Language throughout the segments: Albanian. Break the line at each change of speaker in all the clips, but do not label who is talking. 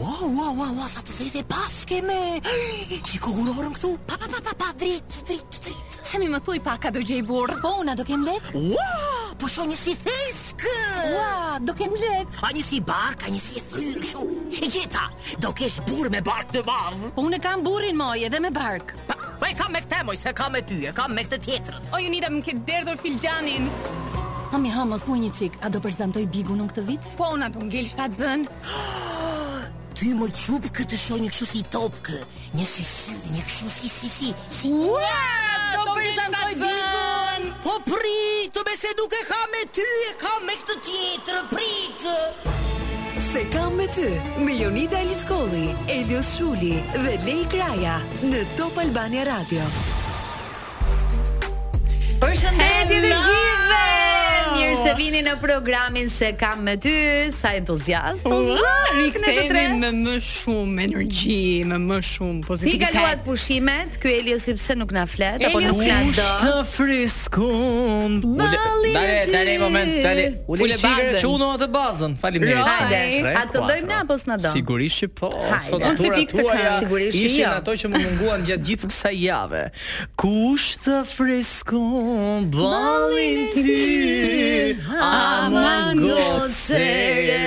Wow, wow, wow, wow, sa të zëjtë e paske me Shiko urorën këtu Pa, pa, pa, pa, pa, drit, drit, drit
Hemi më thuj pak a do gjej burr.
Po, una do kem lek?
Wow, po shoh një si thesk
Ua, do kem lek.
A një si bark, a një si e fryrë kështu. E gjeta, do kesh burr me bark të madh
Po unë e kam burrin moj edhe me bark.
Pa, pa e kam me këtë moj, se kam me ty, e kam me këtë tjetrën
O ju nida më ke derdhur filxhanin.
Hami ha, më thuj një çik, a do prezantoj bigun unë këtë vit?
Po unë atë ngel shtat zën.
Ty moj qup këtë shoh një kështu si topkë Një si sy, një kështu si si si si
Ua, do prezantoj bigun.
Po prit, të bese nuk e kam me ty, e kam me këtë tjetrën, prit
Se kam me ty, me Jonida Eliçkolli, Elios Shuli dhe Lej Kraja në Top Albania Radio.
Përshëndetje të
Hello!
gjithëve. Mirë se vini në programin se kam me ty, sa entuziast.
Rikthehemi me më shumë energji, me më shumë
Si
pozitivitet.
kaluat pushimet? Ky Elio si pse nuk na flet apo
Elio,
nuk na do?
friskum.
Balli
Dale,
i
dale,
dy.
moment, dale.
Ule
Ule çigër
bazën.
që unë atë bazën. Faleminderit.
Hajde,
Tre,
a të
kuatro.
dojmë na apo s'na do?
Sigurisht që po.
Hajde.
Sot
Unë
si
natyra
pikë të
tuaja
kam.
Sigurisht që
ishin
jo.
ato që më munguan gjatë gjithë kësaj jave. Kush të friskon ballin ty? Ama gocere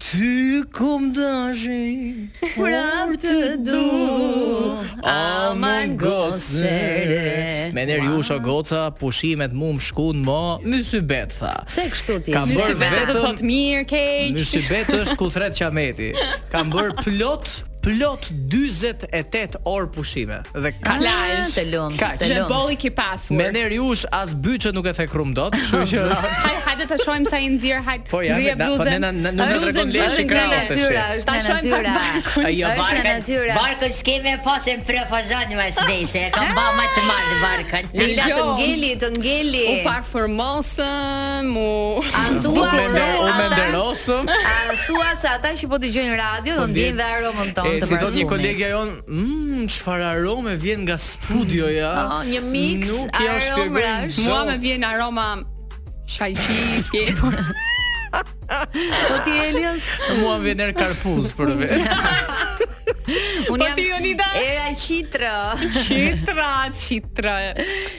Ty kum dëshin
Prap të du, aman gocere.
Me nërë ju sho goca Pushimet mu më shkun mo Mysybet tha
Pse kështu ti?
Ka
Si
bërë
vetë të
vetëm-
thot mirë, keq.
Mysybet është ku thret qameti Kam bërë plot plot 48 orë pushime dhe kaq
Ah, të lumë,
Kaq.
të
Që
lumë.
bolli ki pasur.
me nërë jush as byqë nuk e thekrum dot kështu që
Haj, hajde ta shohim sa i nxjerr, hajt.
Po, ja,
rrije
da- po,
bluzën.
ne na- na- nuk na
Bluzën,
tregon leshi
bluzën,
Është nga
krahët,
bluzën.
natyra,
tash.
është nga
Ta shohim pak
natyra.
barkun.
Ai, ja,
Është nga
barkën-
natyra.
Barkën s'keme pas e më prefazon më s'dej se e kam ba më të madh barkën.
Lila të
Dëgjom.
ngeli, të ngeli.
U par formosën, mu...
Antua
Nuk me
se
ndo- unë me
ata
nderosëm
A thua se ata që po dëgjojnë radio do ndjejnë dhe aromën tonë
E
të
si thot një
parfumit.
kolegja jon, mmm, çfarë arome vjen nga studioja.
Oh, një mix
Nuk ja
aromrash.
shpjegoj.
Mua me vjen aroma shajqi, fjepur.
Po ti Elios,
Mua më vjen er karpuz për vetë.
unë jam
ti, Jonida?
Era Qitro.
Qitra, qitra.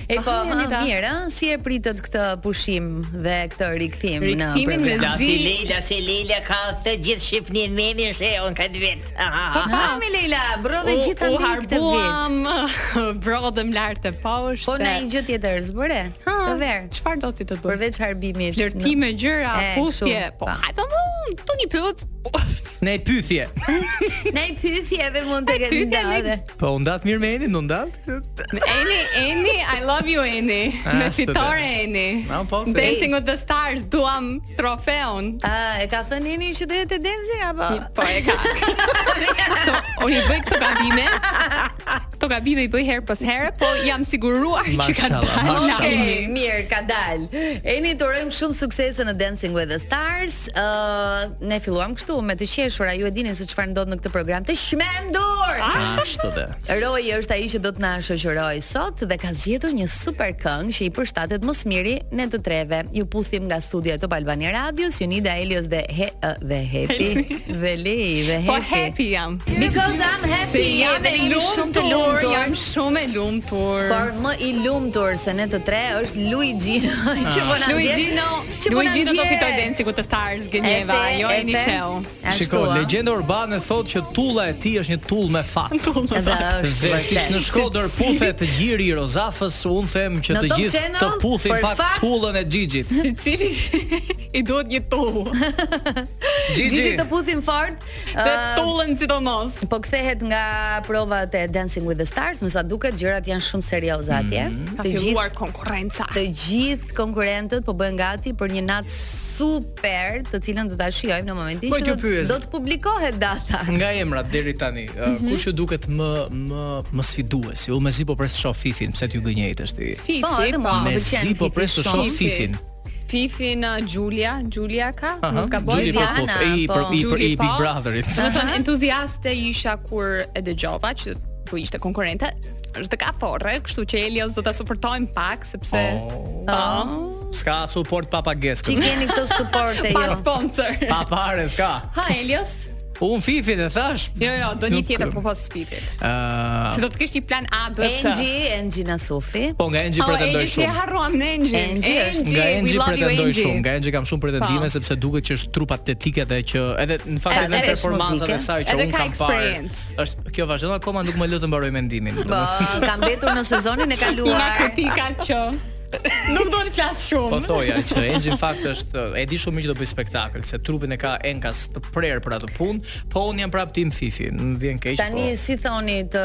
E po,
Ah, Jonida.
mirë, ëh, si e pritët këtë pushim dhe këtë rikthim në
Rikthimin me
La si
zi.
Lila, si Lila ka të gjithë Shqipnin mendin sheun këtë vit. Aha, aha.
Ha, mi Leila, bro dhe
U-
gjithë të
u
këtë vit.
harbuam, brodhem lart e poshtë.
Po na një gjë tjetër zbëre,
Ha,
të verë.
Çfarë do ti të bëj?
Përveç harbimit.
Flirtime, gjëra,
E,
puthje.
kështu,
Po,
pa.
hajde mu, tu një pyet.
Ne e pythje.
Ne i pyetjeve mund të
pythje,
ketë
ne-
ndodhe.
Po u ndat mirë me Enin, u ndat?
Eni, Eni, I love you Eni.
Ah,
Me
ashtu
fitore
be.
Eni.
Na, po, se-
Dancing with the Stars, duam trofeun.
A, e ka thënë jeni që dojet të dancing apo?
Po e ka. so, unë i bëj këto gabime. Këto gabime i bëj herë pas here, po jam siguruar që ka
Mashallah,
dalë.
mashallah.
Okej,
lajmi.
mirë, ka dal. Eni të urojmë shumë suksese në Dancing with the Stars. Ë, ne filluam kështu me të qeshura. Ju e dini se çfarë ndodh në këtë program të shmendur.
Ashtu dhe.
Roji është ai që do të na shoqërojë sot dhe ka zgjedhur një super këngë që i përshtatet më së miri në të treve. Ju puthim nga studia e Top Albania Radios, Unida Elios dhe he, ë, dhe Happy dhe Lei dhe
Po
Happy.
happy jam.
Because I'm happy.
Se jam
Dhe
e
ne jemi shumë të
lumtur,
lumtur.
jam shumë e lumtur.
Por më i lumtur se ne të tre është Luigi
Ah.
që po na ndjen.
Luigino,
që po na
Luigino do
ndjen.
fitoj Dancing with the Stars Gënjeva,
E the,
jo
e
Eni
the.
Sheu.
Ashtu,
Shiko,
a?
legjenda urbane thotë që tulla e tij është një tull me fat.
Edhe është
Dhe siç
vërtet.
në Shkodër puthet gjiri i Rozafës, un them që
Në
të
Top
gjithë të
Channel,
puthin
për
pak
fat-
tullën e Xhixhit.
I cili i duhet një tull.
Gjigi të puthim fort.
Dhe
ë,
tullën sidomos.
Po kthehet nga provat e Dancing with the Stars, më sa duket gjërat janë shumë serioze atje.
Mm.
Ka
Të gjithë Po,
filluar konkurrenca.
të gjithë konkurrentët po bëhen gati për një natë super, të cilën do ta shijojmë në momentin
Po,
që
kjo
do,
pyes.
do të publikohet data.
Nga emrat deri tani, mm
Mhm.
kush ju duket më më më sfiduesi? Unë mezi po pres të shoh Fifin, pse t'ju gënjetesh ti?
Fifi,
Po, edhe mua.
po.
Me-
Mezi
pëlqen
po
Fifi
pres të shoh
shumë.
Fifin.
Fifi në Julia, Julia ka,
Aha,
mos ka
Gjuli
bërë.
po
Diana,
po, e i për
po.
i për i
Gjuli po.
Big Brotherit.
Do të thënë entuziaste isha kur e dëgjova që po ishte konkurrente. Është ka forre, kështu që Elios do ta suportojmë pak sepse
Oh.
po.
S'ka support pa
Çi
pageskën.
keni këto suporte
Pa
jo?
sponsor.
Pa pare s'ka.
Ha Elios,
Un fifit e thash.
Jo, jo, do një
Nuk-
tjetër propos Fifit.
Ë,
Se do të kesh një plan A, B, C.
Engji, Engji Nasufi.
po nga Engie
Oh,
pretendoj
Engji, si e
shumë.
harruam në Engji.
Engie është-
Nga
we
Engie
love you
pretendoj
Engji.
shumë, nga Engie kam shumë pretendime
Pa.
sepse duket që është trup atletik edhe që edhe në fakt
Edhe
edhe
vesh
performancat e
muzike,
saj që
edhe
un
ka
kam parë.
experience.
Është kjo vazhdon akoma nuk më lë të mbaroj mendimin.
Po,
domethënë.
ka mbetur në sezonin e
Një
kaluar.
kritika që nuk do të flas
Po
shumë.
thoja që Engji në fakt është e di shumë mirë që do bëj spektakël, se trupin e ka Enkas të prerë për atë punë, po un jam prap tim Fifi, më vjen
po.
keq. po-
Tani si thoni të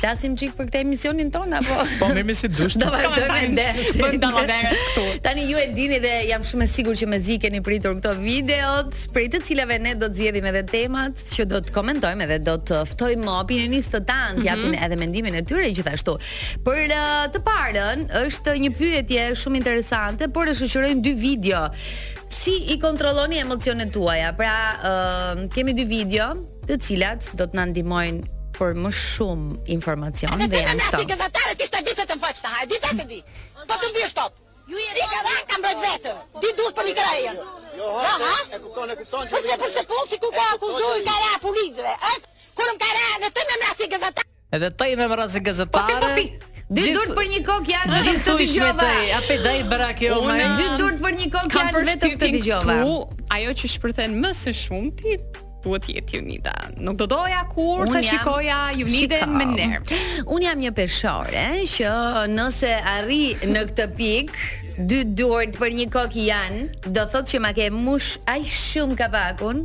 flasim çik për këtë emisionin ton apo?
po, po mirë mirë si dush.
Do vazhdojmë ndesë.
Bëm dallaverë këtu.
Tani ju e dini dhe jam shumë e sigurt që me zi keni pritur këto videot, prej të cilave ne do të zgjedhim edhe temat që do të komentojmë edhe do të ftojmë opinionistët tanë, të japin edhe mendimin e tyre gjithashtu. Për uh, të parën është një pyetje shumë interesante, por e shoqërojnë dy video. Si i kontrolloni emocionet tuaja? Pra, uh, kemi dy video të cilat do të na ndihmojnë për më shumë informacion dhe janë këto.
Gënatare ti shtë gjithë të më faqë të hajë, di të të di. Po të mbi shtot. Ju e di ka vakt kam brojt vetëm. Di duhet për Mikraelën. Jo, ha? E kupton, e kupton. Po çe për sekond si ku ka akuzuar ka ra policëve, ë? Kur më ka ra në të më mrasi gënatare.
Edhe taj me vrasë gazetare.
Po si, po si?
Dy durt për një kokë janë gjithë të dëgjova.
Ape daj jo, brakë o
Unë dy durt për një kokë
Kam
janë vetëm të
përshtypjen
dëgjova.
këtu, ajo që shpërthen më së shumti duhet jetë Junida. Nuk do doja kur
Unë
të
jam-
shikoja Juniden
Shiko.
me nervë.
Unë jam një peshore që nëse arri në këtë pikë dy durt për një kokë janë, do thotë që ma ke mush aq shumë kapakun.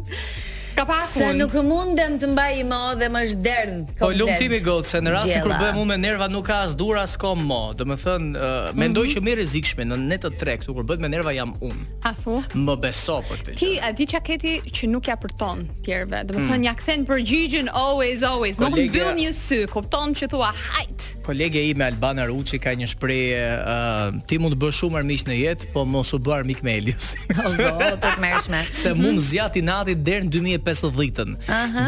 Ka
Se
pakun.
nuk mundem të mbaj i mo dhe më shderdh komplet.
Po lumtimi gotë, se në rastin kur
Gjella.
bëhem unë me nerva nuk ka as dur as kom mo. Domethën uh, mendoj
Mhm.
që më e rrezikshme në ne të tre këtu kur bëhet me nerva jam unë.
A thu?
Më beso
po
për këtë.
Ti a di çka keti që nuk ja përton tjerëve. Do të
Hmm.
thonë ja kthen përgjigjen always always. Nuk
Kolegja-
mbyll një sy, kupton që thua hajt.
Kolege ime Albana Ruçi ka një shprehje, uh, ti mund të bësh shumë armiq në jetë, po mos u bë armik me Elios.
O zotë, të mërshme.
se mund zjati nati deri në 2050-ën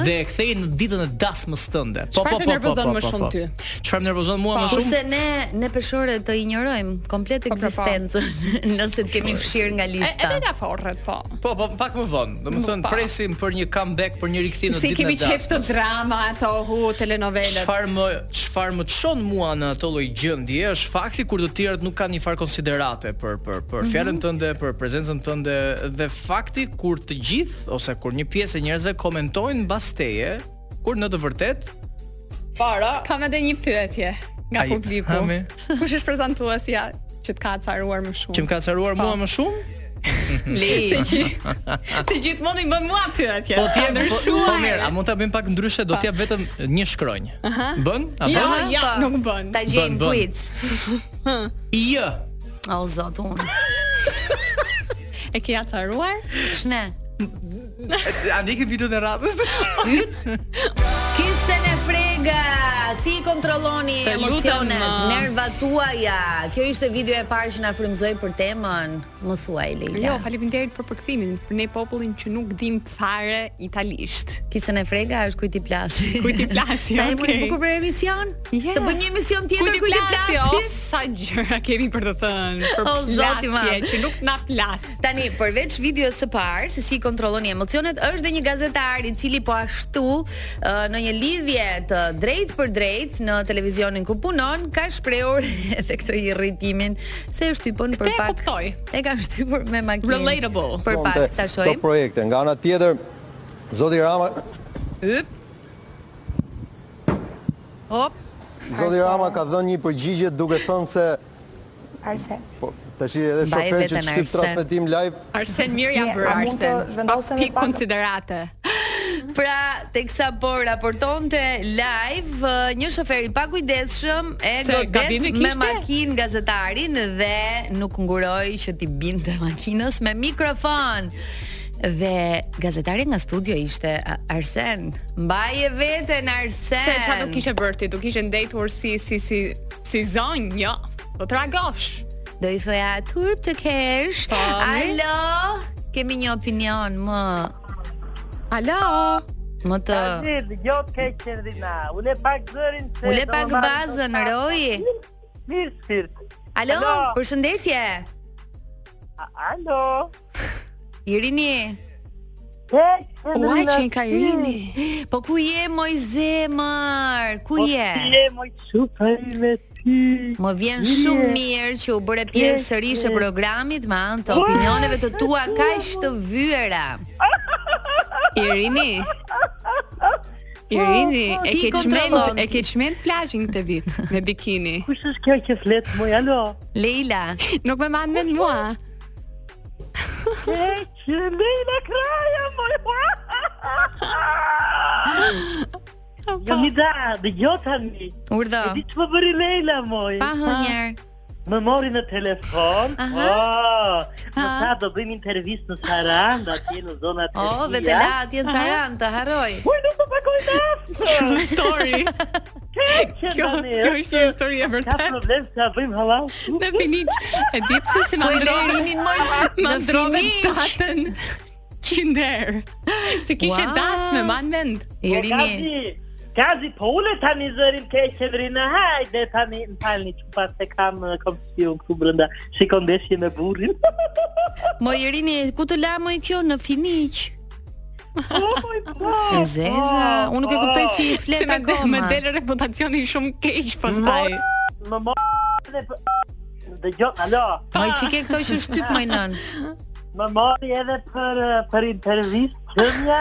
dhe e kthej në ditën e dasmës tënde. Po
Çfarë
po
të
po po.
nervozon
po,
më
po,
shumë
po.
ty?
Çfarë më nervozon mua më shumë?
Kurse ne ne peshore të injorojmë komplet
po, po.
ekzistencën nëse të kemi fshirë nga
E,
lista.
edhe na forret po.
Po, po, pak më vonë. Domethënë
Po.
presim për një comeback, për një rikthim në
Si
ditën
kemi
e
qef të
dasmës.
drama ato hu telenovelet.
Çfarë më çfarë më çon mua në atë lloj gjendje është fakti kur të tjerët nuk kanë një farë konsiderate për për për
Mhm.
fjalën tënde, për prezencën tënde dhe fakti kur të gjithë ose kur një pjesë e njerëzve komentojnë mbas teje, kur në të vërtetë para
Kam edhe një pyetje nga
Ai,
publiku.
ha, me?
Kush është prezantuesja që të ka acaruar
që
më
më
shumë?
ka caruar mua
Po.
më shumë?
Se që se gjithmonë i bën mua pyetje.
Po ti
Ka
e ndryshuar. Po
ndryshuar.
mirë, a mund ta bëjmë pak ndryshe? Do t'jap vetëm një shkronjë. Bën? A
Po. Ja,
bën?
ja,
Po.
nuk bën.
Ta gjejmë
bën.
quiz.
I.
O zot unë.
E ke acaruar?
Ç'ne?
A ndiqni videon e radhës?
Kisën e frega, si i kontrolloni
Të lutem,
emocionet,
ma.
nervat tuaja. Kjo ishte video e parë që na frymëzoi për temën. Më thuaj
Jo,
Leila.
faleminderit për përkthimin. Për ne popullin që nuk dim fare italisht.
Kisën e frega është kujt i plasi.
Kujt i plasi,
Sa e
okay.
bukur për emision?
Yeah.
Të bëjmë një emision tjetër
Kujt i
kujt i
plasi? O,
plasi.
sa gjëra kemi për të thënë, për
O, zoti
plasje
madh.
që nuk na plas.
Tani, përveç videos së parë, se si kontrolloni emocionet, është dhe një gazetar i cili po ashtu ë, në një lidhje të drejt për drejt në televizionin ku punon, ka shprehur edhe këtë irritimin se e shtypon për
Këtë e
pak.
kuptoj.
E ka shtypur me makinë.
Relatable.
Për pak ta
Këto
shohim.
projekte. Nga ana tjetër, Zoti Rama,
Yp. Hop.
Zoti Rama ka dhënë një përgjigje duke thënë se
Arse.
po tash edhe
Mbaj
shofer që
veten
shtyp
Arsen.
transmetim live
Arsen mirë ja
Mirë,
bër
a mund të
Arsen.
zhvendosem
Pak
me
pikë
pak-
konsiderate.
Pra, teksa po raportonte live ë, një shofer i pakujdesshëm e
Se
godet
gabime
me
kishte?
makinë gazetarin dhe nuk nguroi që t'i binte makinës me mikrofon. Dhe gazetari nga studio ishte a, Arsen. Mbaje veten Arsen.
Se çfarë do kishe bërë ti? Do kishe ndetur si si si si zonjë, jo. Do të reagosh.
Do i thoja turp të kesh.
Po, mirë.
Alo, kemi një opinion më
Alo.
më të
dëgjot keq qendrina. Ule pak zërin se
ule pak bazën Roji.
Mirë shpirt.
Alo,
Alo.
përshëndetje.
A- Alo.
Irini,
Heq,
Ua
Sandrina,
që i ka
si?
Irini.
po ku je moj zemër? Ku
Po si
je?
je moj super me ti.
Më vjen
Je.
shumë mirë që u bëre pjesë
Je,
sërish e
je.
programit me anë të opinioneve të tua kaq të vyera.
Irini. Irini, e
Po, Si
ke
kontrollon
çmend,
ti?
e ke çmend plazhin këtë vit me bikini.
Kush është kjo që flet moj? Alo.
Leila,
Nuk më mand mend mua.
Heq, Lejla Kraja moj. Jam i da, dhe tani.
urdhë.
E di që më bëri Leila moj.
Pa hënjer.
Më mori në telefon.
Aha.
Oh, më tha do bëjmë intervistë në Sarand, atje në zonat e
Oh, dhe të la atje në Saran, të harroj.
Uj, nuk të pakoj në aftë!
Story.
Që
Kjo
tani,
kjo është një histori e
Ka
vërtetë.
problem se a bëjmë halal?
Në finiq, e di pse si më
Po e
ndrorinin
Lerinin moj,
Më
në
ndrove
finish.
datën Kinder. Se kishe
Ua.
das me man mend.
Irini,
Gazi, Gazi, po ule tani zërin ke e qevrinë, hajde tani, më falni që pas se kam uh, konfuzion këtu brënda, shikon deshje me burin.
moj Irini, ku të la moj kjo në finiq?
oh my god!
E zeza,
oh,
unë nuk e kuptoj si i
Se
flet
me del, me
akoma.
del reputacioni shumë keq pastaj.
Më mori edhe... Dhe gjo, alo,
Moj çike këto që shtyp moj nën.
më mori edhe për, uh, për intervistë qëmja,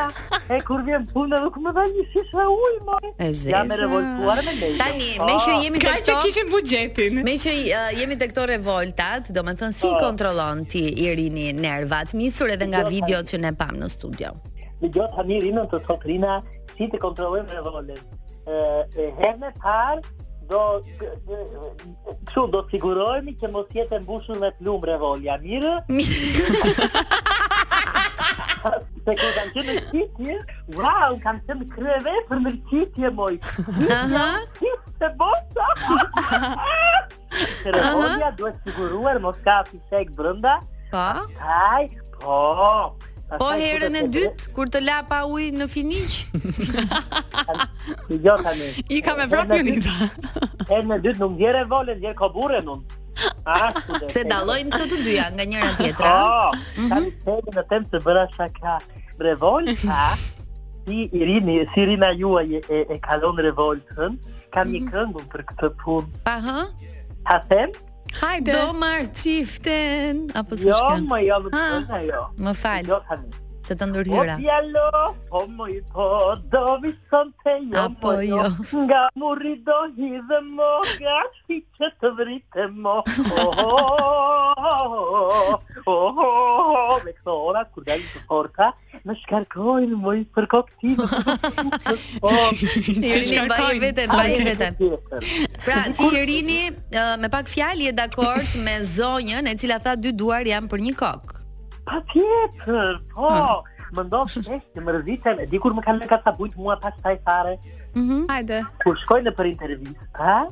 e kur vjen punë nuk më dha një shisha ujë, moj.
E
Jam e
zeza.
revoltuar me lejtë. Po.
Tani, me që jemi
Ka
të
që
këto,
kishin buxhetin.
me që uh, jemi të këto revoltat, do me thënë si
Po.
kontrollon ti Irini nervat, misur edhe nga videot që ne pam në studio.
Dhe gjo tani rinën të thot rina si të kontrollojmë revolën. Ë herën e parë do d- d- kështu do sigurohemi që mos jetë e mbushur me plumb revolja. Mirë? Se kur kam qenë në qitje, wow, kam qenë kreve për në qitje, moj.
Aha,
Qitje se bosa! Se revolja duhet siguruar, mos ka fishek brënda.
po.
Aj, po.
Po
Pastaj
herën e
duhet të-
dytë kur të la pa ujë në finiq,
Gjo tani.
I ka me
Herën
vrap
e
Jonita.
Herë në dytë nuk ndjerë e vole, ndjerë koburën unë. Ah,
se dallojnë këto të dyja nga njëra tjetra.
Oh, tani themi në temë se bëra shaka. Revolta, si Irini, si Irina juaj e, e, e kalon revoltën, kam një këngë për këtë punë.
Pa hë?
Ha them?
Hajde.
Do marr çiften apo s'është
Jo,
kjo?
më jo, më
Ah.
këngë ajo.
Më fal,
Jo, tani.
se të
O
ndërhyra.
djalo, po më i po, do mi sonte jo,
Apo
po jo.
jo.
Nga muri do hidhe mo, nga shi që të vrite mo. Oh, oh, oh, oh, me këto ora, kur dalin të porta, më shkarkojnë më i për koktinë. po.
Të
Irini baje
shkarkojnë.
veten, baje veten. Pra, ti Irini ë, me pak fjalë je dakord me zonjën e cila tha dy duar janë për një kokë.
Pa tjetër, po. Më ndosh shpesh që më rëzitem, e di kur më kanë lënë ka sa bujt mua pas taj fare,
Mhm.
Hajde.
kur shkojnë për intervista,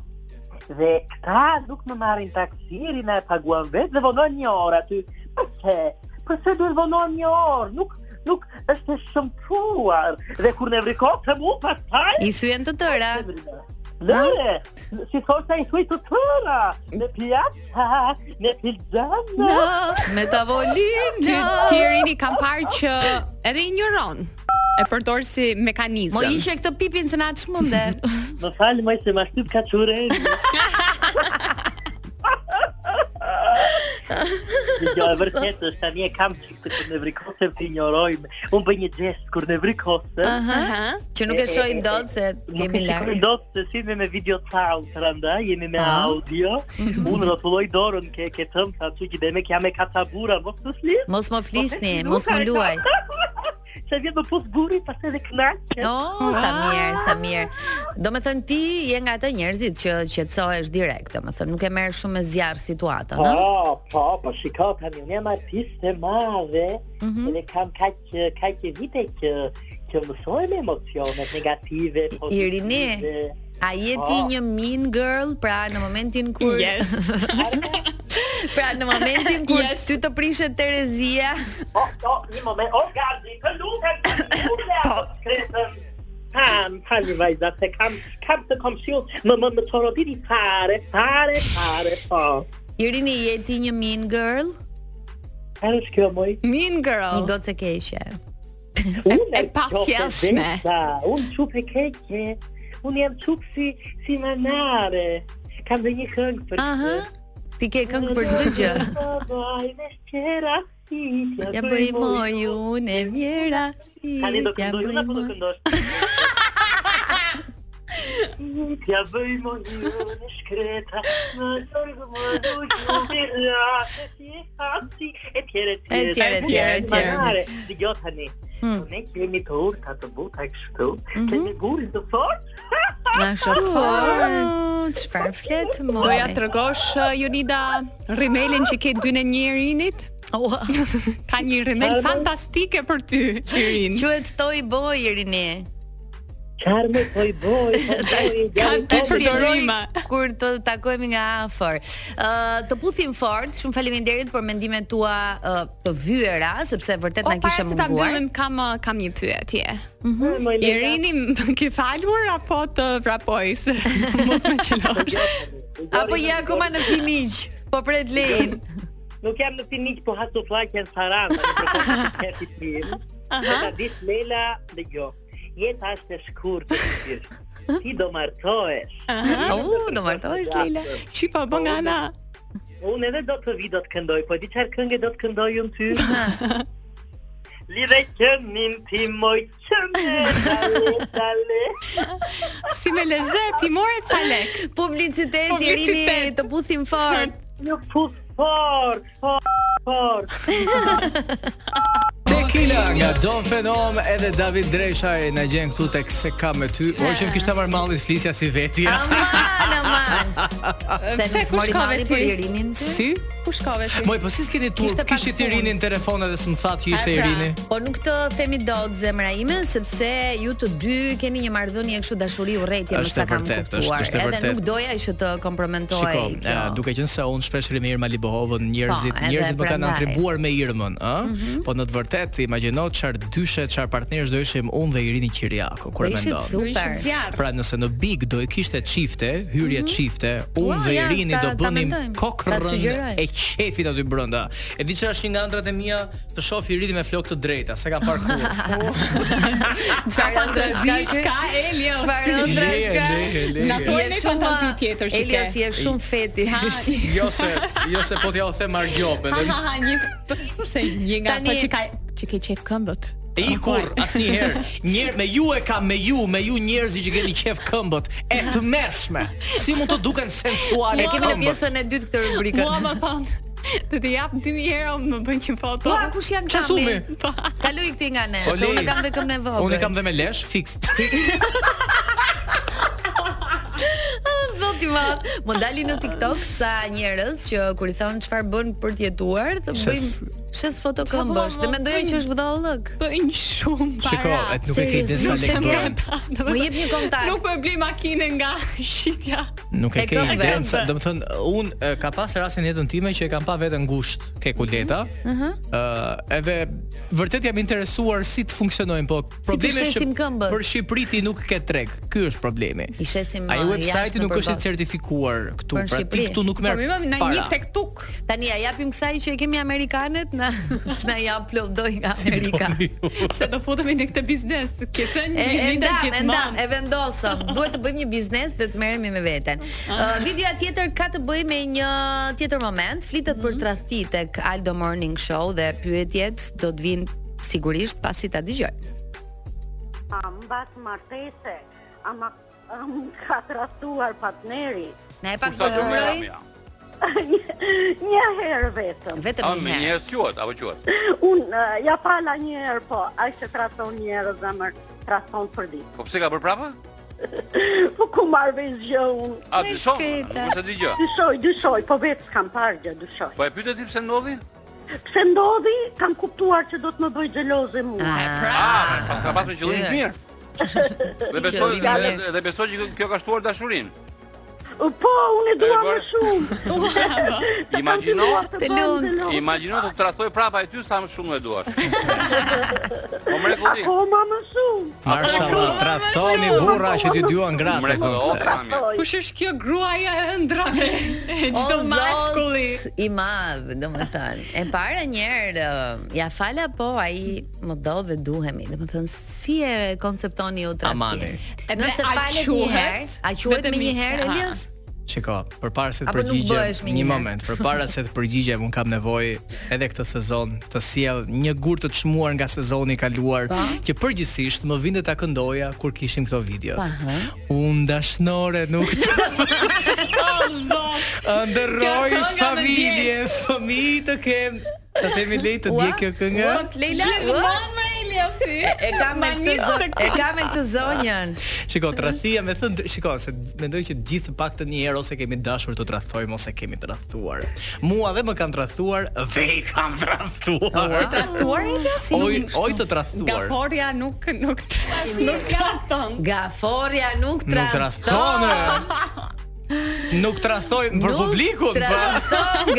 dhe këta nuk më marrin taksirin, na e paguan vetë dhe vonon një orë aty. Përse? Përse duhet vonon një orë? Nuk, nuk është e shëmtuar. Dhe kur ne vrikot të mu, pas taj,
I thyen të tëra.
Lëre, si thoshta i thuj të tëra, në pjata, në pilzana.
Me tavolinë.
Ty ti Irini kam parë që edhe injoron. E përdor si mekanizëm.
Mo ishe këtë pipin se na çmunde.
Më falë, moj, se ma shtyp ka qureni. Jo, e vërtet është tani e kam çik të kur ne vrikosem të injorojmë. Unë bëj një gest kur ne vrikosem.
Aha.
Aha.
Që nuk e shohim dot se
Nuk e
kemi
shikoj
larg.
dot se si me me video sound të rënda, jemi me
Ah.
audio. Unë rrotulloj dorën ke ke tëm sa çu që demek jam me katabura, mos të flis.
Mos më flisni,
Po,
mos më luaj.
Se vjen më pus buri pas edhe knaqe.
Oh, sa mirë, sa mirë. Do me thënë ti je nga ata njerëzit që qetësohesh direkt, do me thënë nuk e merr shumë me zjarr situatën, ëh?
Po, po, po, shiko, kam një një artist e madhe, edhe kam kaq kaq vite që që mësoj me emocionet negative, pozitive.
Irini. A je ti
Po.
një mean girl, pra në momentin kur
Yes.
pra në momentin kur
Yes.
ty të prishet Terezia,
O, o, një moment, o, gazi, të lutem, të lutem, Kam, kam një vajza, se kam, kam të kom shiu, më më më të roditi fare, fare, fare, po.
Irini je ti një mean girl?
Herë është kjo moj?
Mean
Një
girl.
gocë e keqe.
Unë
e pasjellshme.
Unë qup e keqe. Unë jam qup si, si manare. Kam dhe një këngë për
Aha. Ti ke këngë për çdo gjë.
Bajme shqera si t'ja
Ja bëj moju unë e mjera si
Tani do
ja
këndoj unë apo do
moj-
këndosh? T'ja bëj moju në shkreta Në zorgë më dujë Në rrasë Si e hapsi E tjere tjere
E tjere,
Tani,
tjere, tjere.
manare. Dëgjoj tani Ne kemi të urta të buta kështu Kemi gurin të fort
Ashtu. o, Çfarë flet moj?
Oh. Doja të rëgosh, uh, Jonida, rimelin që ke dy në njërinit?
Ua,
Ka një rimel fantastike për ty, Qirin.
Quhet Toy Boy Irini.
Qarë me toj boj
kanë
Ta
të përdorima.
shpjegoj Kur të takohemi nga afër. Ë të puthim fort. Shumë faleminderit për mendimet tua ë, të vyera, sepse vërtet
O,
na
para
kishe
se ta
munguar.
mbyllim, kam, uh, kam një pyetje. Irini, më ke falur apo të vrapoj? Se mund të qelosh.
Apo je akoma në fimiq? Po pret lein.
Nuk jam në pinik, po haso flak janë saran Në përkohë të kërti film Dhe ta dish Lela dhe jo Jeta është e shkurtë të gjithë Ti do martohesh
U, do martohesh Leila.
Qi po bën nga ana.
Unë edhe do të vi do të këndoj Po di qarë këngë do të këndoj unë ty Lidhe qëmin ti moj qëmë Dale, dale
Si me lezet, i more ca lek.
Publicitet Irini,
Publicitet.
të puthim fort.
Nuk pus fort, fort, fort
Tequila nga Don Fenom edhe David Dresha e na gjen këtu tek se ka me ty. O që më kishte marrë malli flisja si vetja.
Ah, Aman, aman.
Pse
Se
ku
ku
shkove
shkove
ti?
për Irinin ty?
Si?
Ku shkove ti?
Moj, po si s'keni tur?
Kishte pak
Kishit
punë.
Irinin në telefon edhe s'm tha që ishte
A, pra.
Irini.
Po nuk të themi dot zemra ime sepse ju të dy keni një marrëdhënie kështu dashuri urrëtie më
Është
sa
e
kam
vërtet,
kuptuar.
është- është e
Edhe
vërtet.
nuk doja që të kompromentoj
Shiko,
kjo.
eh, duke qenë se unë shpesh rimir Mali Bohovën, njerëzit,
jo. Po, edhe
njerëzit më kanë
prandaj. Mhm.
atribuar me Irmën, ë? Po në të vërtetë imagjino çfarë dyshe, çfarë partnerësh do ishim unë dhe Irini Qiriako
Po
kur e
ishit
mendon.
super.
Ishim zjarr.
Pra nëse në Big do i kishte çifte, hyrje çifte, unë
Mhm. Ua,
dhe
ja,
Irini
ta-
do
ta
bënim
mendojmë, ta sugjeroj.
kokrën e qefit aty brenda. E di çfarë është një nga ëndrat e mia të shoh Irini me flokë të drejta, se ka parë kur.
Po.
Çfarë
Fantazia shka Elio.
Çfarë ëndra
Leje,
shka?
leje, leje.
Na po- Thuaj me fantazi tjetër që ke.
Elios je shumë feti.
Jo se, jo se po t'ja u them Argjopën.
Ha ha ha, një se një nga
Tani-
ato që ka që ke qef këmbët.
E i kur asnjëherë. Njerë me ju e kam me ju, me ju njerëzi që keni qef këmbët e të mërshme. Si mund të duken sensuale
E
këmbët?
kemi në pjesën e dytë këtë rubrikën.
Mua më thon, të të jap 2000 euro më bën një foto.
Ua, kush janë
Çfarë thumi?
kambi? Kaloj këti nga ne,
Po,
se unë
lej.
kam dhe këmbën e vogël.
Unë i kam dhe me lesh, fix.
Zoti i madh. Më dali në TikTok ca njerëz që kur i thon çfarë bën për të jetuar, thë
Shes.
bëjnë shes foto këmbësh dhe mendoja që është budallëk.
Bëjnë shumë para.
Shiko, et nuk e ke
Seriozisht,
ide sa
nuk
lek
e ke.
bëhen.
Më jep një kontakt.
Nuk po e blej makinën nga shitja.
Nuk e
E
ke
këmbëve.
ide, sa- do të thënë unë e, ka pas rastin në jetën time që e kam pa veten ngushtë ke kuleta. Ëh.
Mhm.
edhe vërtet jam interesuar si të funksionojnë, po problemi është
shesim këmbët.
që për Shqipëri ti nuk ke treg. Ky është problemi.
I shesim
Ai
uh,
websajti
jashtë
nuk
nëpër
është i
botë.
certifikuar këtu,
Për në
pra ti
Shqipëri.
këtu nuk
Po
merr
më vjen na një
para.
tek tuk.
Tani ja japim kësaj që e kemi amerikanët, na na ja uploadoj
po,
nga Amerika.
jo.
Se do futemi në këtë biznes. Ke thënë
E, e ndam, e
një ditë
ndam,
gjithmonë.
e vendosëm. Duhet të bëjmë një biznes dhe të merremi me veten.
Ah.
Uh, videoja tjetër ka të bëjë me një tjetër moment, flitet
Mhm.
për tradhti tek Aldo Morning Show dhe pyetjet do të vinë sigurisht pasi ta dëgjoj.
Am bat martese, ama am ka trahtuar partneri.
Na e pak po numëroj
një herë vetëm.
vetëm një herë.
Unë eh, ja pala një herë po, ai që trahton një herë zemër, trahton për ditë. Po pse ka bërë prapa? po ku marr vesh gjë unë? A dyshon? Nuk është dy gjë. Dyshoj, dyshoj, po vetë s'kam parë gjë, dyshoj. Po e pyet ti pse ndodhi? Pse ndodhi? Kam kuptuar që do të më bëj xheloze mua.
Ah.
pra.
Ah,
Ka pasur qëllim të mirë. Dhe besoj
Qëllim i mirë.
dhe besoj që kjo ka shtuar dashurinë.
Po, unë e dua më
bërë?
shumë.
Imagjino,
Të lund.
imagjino të tradhtoj prapa e ty sa më shumë e duash. Po mrekulli.
Akoma më shumë.
Mashallah,
pra,
tradhtoni burra që ti dua ngratë.
Mrekulli, o
thonë se.
mami.
Kush është kjo gruaja e ëndrave? E
O,
çdo
Zot
mashkulli.
i madh, domethënë. E para një herë ë, ja fala po ai më do dhe duhemi. Domethënë si e konceptoni ju tradhtin?
Amani.
Edhe
Nëse
a
falet një
quhet?
herë, a quhet
Vetëm
me një
një-
herë
Aha.
Elias?
Shiko, përpara se të
Apo nuk bëhesh
përgjigjem,
me
një
njëherë.
moment, përpara se të përgjigjem, un kam nevojë edhe këtë sezon të sjell një gur të çmuar nga sezoni i kaluar, që përgjithsisht më vinte ta këndoja kur kishim këto videot.
Aha.
Un dashnore nuk të ndërroj
Kjo kënga më
familje, fëmijë të kem. Të themi lejtë të dje kjo kënga.
What, Leila? Ua,
Mamre Eliasi.
E kam me këtë zonjën. E kam me këtë zonjën.
Shiko, tradhia me thënë, shiko, se mendoj që të gjithë pak të një herë ose kemi dashur të tradhtojmë ose kemi tradhtuar. Mua dhe më kanë tradhtuar dhe i kam tradhtuar.
Tatuar Eliasi.
Oj, oj të tradhtuar.
Gaforja nuk nuk nuk trafton.
Gaforja nuk
Nuk
tradhton.
tradhtone. Nuk tradhtojmë për publikun, pra. për
Tradhton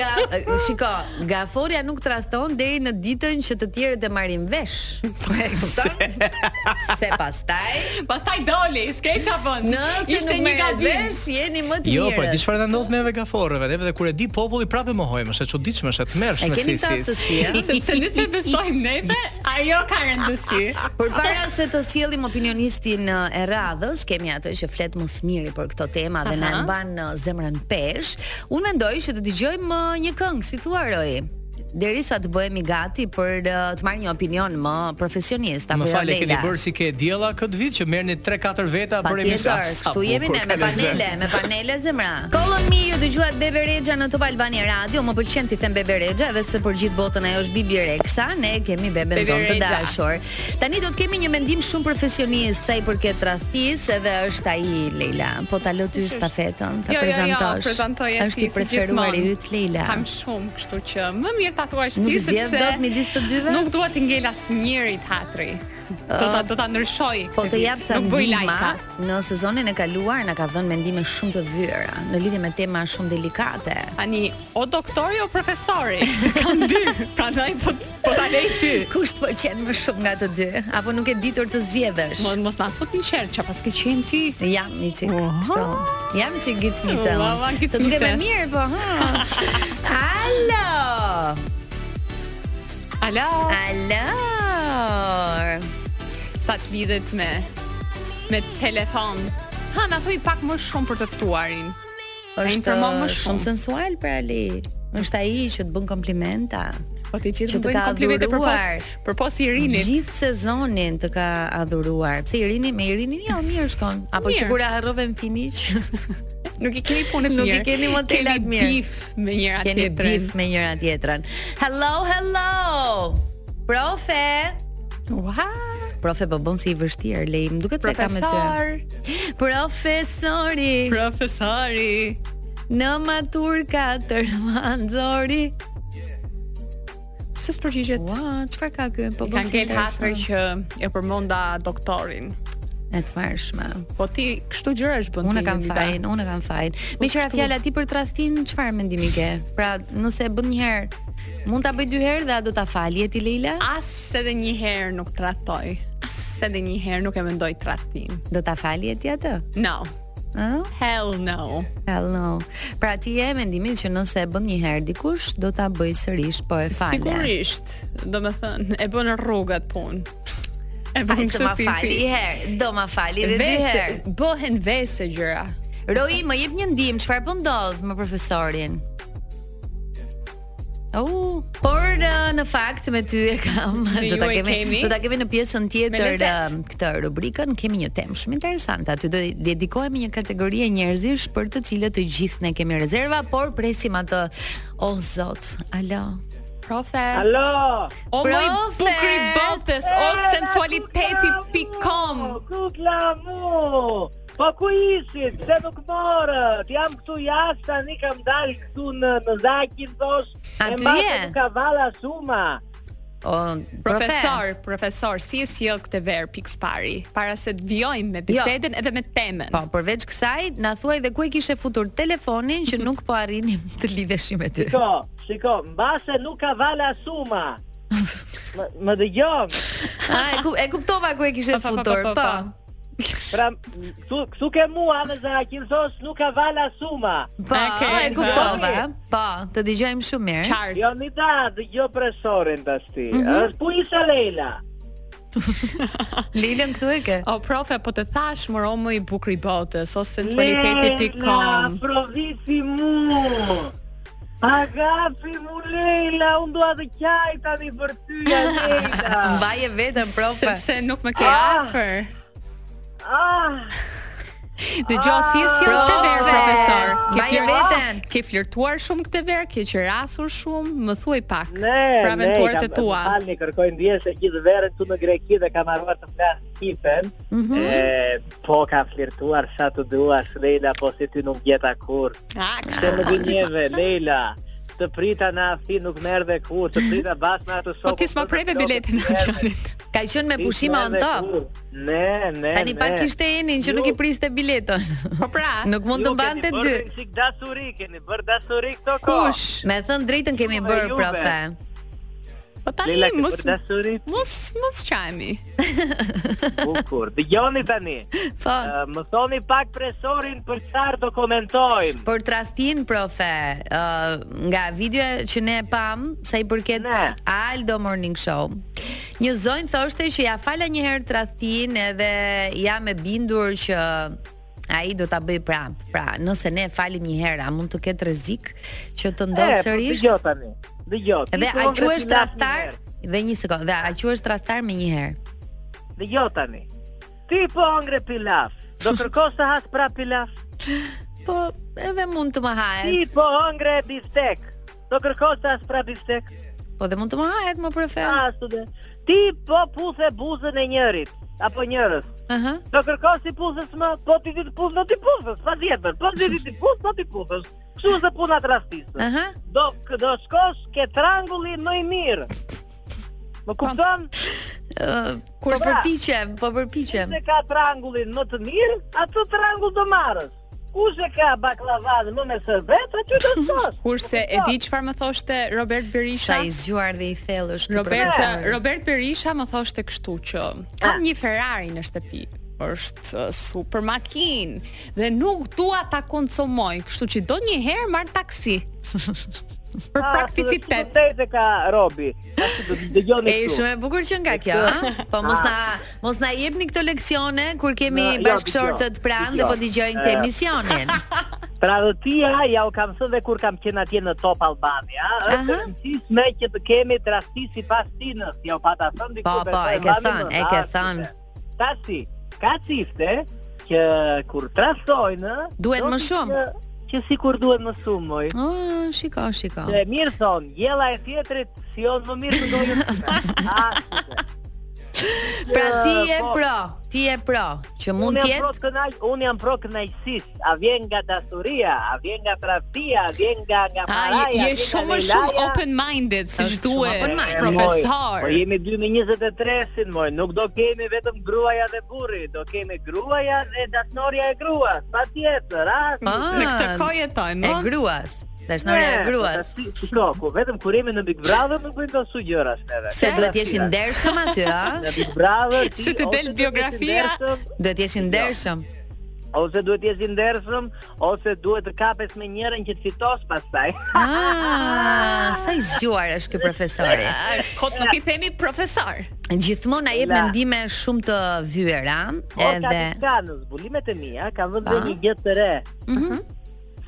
nga shiko, gaforja nuk tradhton deri në ditën që të tjerët e marrin vesh. Po e kupton? Se pastaj
Pastaj doli, s'ke ç'a bën.
Nëse
Ishte
nuk
një
merret
gabim.
vesh, jeni më të mirë.
Jo, po e di çfarë na ndodh neve gaforreve, neve dhe kur e di populli prapë mohojmë, është e çuditshme, është e
E
tmerrshme
keni
si
këtë aftësi,
si.
ëh?
Sepse ne se besojmë neve, ajo ka rëndësi.
Por para se të sjellim opinionistin ë, e radhës, kemi atë që flet më së miri për këto tema dhe na
Aha.
mban ë, zemrën pesh. Unë mendoj që të dëgjojmë ë, një këngë, si thua Roy. Derisa të bëhemi gati për ë, të marrë një opinion më profesionist apo jo,
Më falë, keni
Leila?
bërë si ke e diella këtë vit që merrni 3-4 veta për
Patjetër,
emision. Sa
kështu jemi
bukur
ne me
ka lezet.
panele, me panele zemra. Call on me ju dëgjuat Bebe Rexha në Top Albania Radio, më pëlqen ti them Bebe Rexha, edhe pse për gjithë botën ajo është Bibi Rexha, ne kemi beben
Bebe
tonë të
Rexha.
dashur. Tani do të kemi një mendim shumë profesionist sa i përket tradhtisë, edhe është ai Leila. Po ta lë ty stafetën, ta
Jo, jo, jo,
prezantosh.
prezantoj e
Është
ti,
i
si
preferuar i
gjithmonë.
yt Leila.
Kam shumë, kështu që më mirë tatuaj
Nuk
ti
zgjedh
sepse
dot midis të dyve?
Nuk dua të ngel asnjëri hatri. Do ta do ta ndryshoj.
Po
këtë
të
vit.
jap ca
Nuk bëj lajka.
ndihma në sezonin e kaluar na ka dhënë mendime shumë të vyera në lidhje me tema shumë delikate.
Tani o doktori o profesori, se kanë dy. Prandaj po po ta lej ty.
Kush të pëlqen po më shumë nga të dy? Apo nuk e ditur të zgjedhësh?
Mos mos na fut në qerë, çfarë pas ke qenë ti?
Jam një çik, kështu. Jam një çik gicmice. unë.
Valla,
Të duket më
gicmice.
mirë, po. Ha. Alo.
Ala,
Alo.
sa të lidhet me me telefon. Ha, na thuj pak më shumë për të ftuarin.
Është
informon më
shumë
shumë.
sensual për Ali. Është ai që të bën komplimenta.
Po të
Që të
gjithë më bëjnë
ka
komplimente
adhuruar.
përpos përpos Irinit.
Gjithë sezonin të ka adhuruar. Pse Irini me Irinin jo mirë shkon. Apo
Mirë.
që kur e harrove në finish,
Nuk i keni punët
Nuk i
mirë.
keni modelat mirë.
Keni bif me njëra
keni
tjetrën.
bif me njëra tjetrën. Hello, hello. Profe.
Ua,
Profe po bën si i vështirë, lej, më duket se kam me ty.
profesor,
Profesori
profesori.
në matur 4 manzori.
Se s'përgjigjet.
Ua, çfarë ka ky? Po
I
bën
kanë
si
kel hatër
interesant.
që e përmenda doktorin.
e të marrshme.
Po ti kështu gjëra është bën
Unë e
ti,
kam
Jonida.
fajin, unë e kam fajin. Me qëra
Po kështu.
fjala ti për tradhtin, çfarë mendimi ke? Pra, nëse e bën një herë, mund ta bëj dy herë dhe a do ta falje ti Leila?
As edhe një herë nuk tratoj. As edhe një herë nuk e mendoj tradhtim.
Do ta falje ti atë?
No.
Ëh?
Hell no.
Hell no. Pra ti je e mendimit që nëse e bën një herë dikush, do ta bëj sërish, po e fale.
Sigurisht. Do me thënë, e bën në rrugat punë. E bën
Ai se
kështu
ma
si-
fali
si-
një herë, do ma fali edhe dy
Vese,
herë.
bëhen vese gjëra.
Roi, më jep një ndihmë, çfarë po ndodh me profesorin? Oh, por uh, në fakt me ty e kam.
Me
do ta
ju e
kemi,
kemi.
do ta kemi në pjesën
Me
tjetër
lezet.
uh, këtë rubrikën, kemi një temë shumë interesante. Aty do i dedikohemi një kategori e njerëzish për të cilët të gjithë ne kemi rezerva, por presim atë o zot. Alo.
Profe.
Alo.
O moj
Profe.
bukri botës, o sensualiteti pikom.
Ku klamu? Po ku ishit? Pse nuk morët? Jam këtu jashtë, tani kam dalë këtu në në zakin thosh.
A
e
ty
mbase
je?
nuk Ka valla shumë.
O,
Profesor, profesor, si e sjell këtë verë pikspari, para se të vjojmë me bisedën edhe me temën.
Po, përveç kësaj, na thuaj dhe ku e kishe futur telefonin që nuk po arrinim të lidheshim me ty.
Shiko, shiko, mbase nuk ka vala suma. Më, më dëgjon.
Ah, e, ku, e kuptova ku e kishe
Po, po, po,
futur.
po, po,
Po.
Pra, këtu, këtu ke mua dhe Zarakin thos nuk ka vala suma.
Po, e
Okej,
kuptova. Po, të dëgjojmë shumë mirë.
Qartë.
Jo mi da, dhe jo presorin të sti. është pu isha Leila.
Lilën këtu e ke?
O profe, po të thash më romë i bukur i botës o sensualiteti.com.
provisi mu. Agapi mu Leila, unë dua të qaj tani për ty, Leila.
Mbaje vetëm profe.
Sepse nuk më ke
Ah.
afër.
ah,
Dëgjoj si e sjell këtë verë
Profe,
profesor. Ke
mbaje
flir-
veten.
Ke flirtuar shumë këtë verë, ke qerasur shumë, më thuaj pak.
ne,
Për aventurët
ne,
Pra e tua.
Falni, kërkoj ndjesë e gjithë verën këtu në Greqi dhe kam arruar të flas shqipen.
Mhm.
E, po kam flirtuar sa të duash, Leila, po si ty nuk gjeta kur.
Ah,
Se më gënjeve, Leila. Të prita në afi nuk merr dhe kur, të prita bas në atë
Po
sopë.
ti s'ma preve biletin e avionit.
Ka qenë me pushime on top.
Ne, ne,
Tani
ne.
pak kishte enin që nuk i
Ju-
priste bileton.
Po pra,
Nuk mund të mbante dy.
Ju keni bërë si dasuri, keni bërë dasuri këto kohë.
kush?
Me thënë drejtën kemi
Juve,
bërë
juve.
profe.
Po tani
Leila, ke
mos
bërë dasuri
mos mos qajmi.
bukur. Dëgjoni tani.
Po,
Ë, Më thoni pak presorin për çfarë do komentojmë.
për tradhtin profe, ë nga videoja që ne e pam sa i përket
Ne.
Aldo Morning Show. Një zonjë thoshte që ja fala një herë tradhtin edhe jam e bindur që ai do ta bëj prap. Pra, nëse ne e falim një herë, a mund të ketë rrezik që të ndodhë
E, po,
sërish?
Dëgjoj tani. Dëgjoj. ti
Dhe
thua
a
nga
quhesh
filat
tradhtar?
një herë.
Dhe një sekond, dhe a quhesh tradhtar me një herë?
Dëgjoj tani. Ti po ngre pilaf. Do kërkos të has pra pilaf.
Po, edhe mund të më
Ti
hahet.
po ngre biftek. Do kërkos të has pra biftek.
Po dhe mund të më hahet më profe.
A, stude. Ti po puthe buzën e njërit apo njërës.
Aha.
Do kërkos ti puzës më, po ti ti puzë, do ti puzës, pa tjetër. Po ti ti puzë, do ti puzës. Kështu është dhe puna trastisë.
Aha.
Do do shkosh ke trangulli më i mirë. Më kupton?
Ë, kur
Po pra.
përpiqem, po përpiqem.
Nëse ka trangullin më të mirë, atë trangull do marrës. Kush e ka baklavanën më me sërbet, aty do shosh.
Kurse e di çfarë më thoshte Robert Berisha.
Sa i zgjuar dhe i Ah. thellë është ky
Robert
profesor.
Robert Berisha më thoshte kështu që kam një Ferrari në shtëpi është uh, super makinë dhe nuk dua ta konsumoj, kështu që do një herë marr taksi. Për prakticitet.
Te ka Robi. Ashtu do të dëgjoni
E shumë
këtu.
e bukur që nga kjo, ha? Po mos na mos na jepni këto leksione kur
Na,
kemi
ja,
bashkëshortët
dëgjoj,
pranë dhe po
dëgjoj.
dëgjojnë këtë
E.
emisionin.
Tradhtia Pra ja u kam thënë dhe kur kam qenë atje në Top Albania,
Aha.
është e rëndësishme që të kemi trasti sipas tinës. Ja u pata thënë diku.
Po, po,
besoj,
e ke
mbani
thënë,
mend,
e ke
a,
thënë.
qytet. Tasi, ka çifte që kur trastojnë,
Duhet
do
më
t'i
shumë.
që- Që sikur duhet më shumë, moj.
Oh, shiko, shiko.
Dhe mirë thon, jella e tjetrit si on më mirë të dojë.
Pra ti je
po.
pro, ti je pro që mund
unë
të
jam pro
jetë
kënaq, unë jam pro kënaqësisë. A vjen nga dasuria, a vjen nga tradhtia, a vjen nga nga paraja.
Ai je shumë më shumë open minded siç
Është shumë
duhet,
open-minded.
profesor.
Po jemi 2023-sin, moj, nuk do kemi vetëm gruaja dhe burri, do kemi gruaja dhe dasnorja e gruas. Patjetër, a?
Ah,
Në këtë kohë jetojmë.
e
ëh?
gruas. Dashnore e gruas.
Shiko, ku vetëm kur jemi në Big Brother nuk bëjmë dosju gjëra neve.
Se duhet jesh i ndershëm aty, ha?
Në Big Brother ti
Si të
ose
del
duhet
biografia.
jesh i ndershëm,
Duhet jesh i ndershëm.
Ose duhet jesh i ndershëm, ose duhet të kapes me njërin që të fitos pastaj.
Ah, sa i zgjuar është ky profesori.
Ah, Kot nuk i themi profesor.
Gjithmonë na jep
La.
mendime shumë të vyera
Edhe
edhe
ka në zbulimet e mia kanë vënë dhe një gjë të re.
Mhm.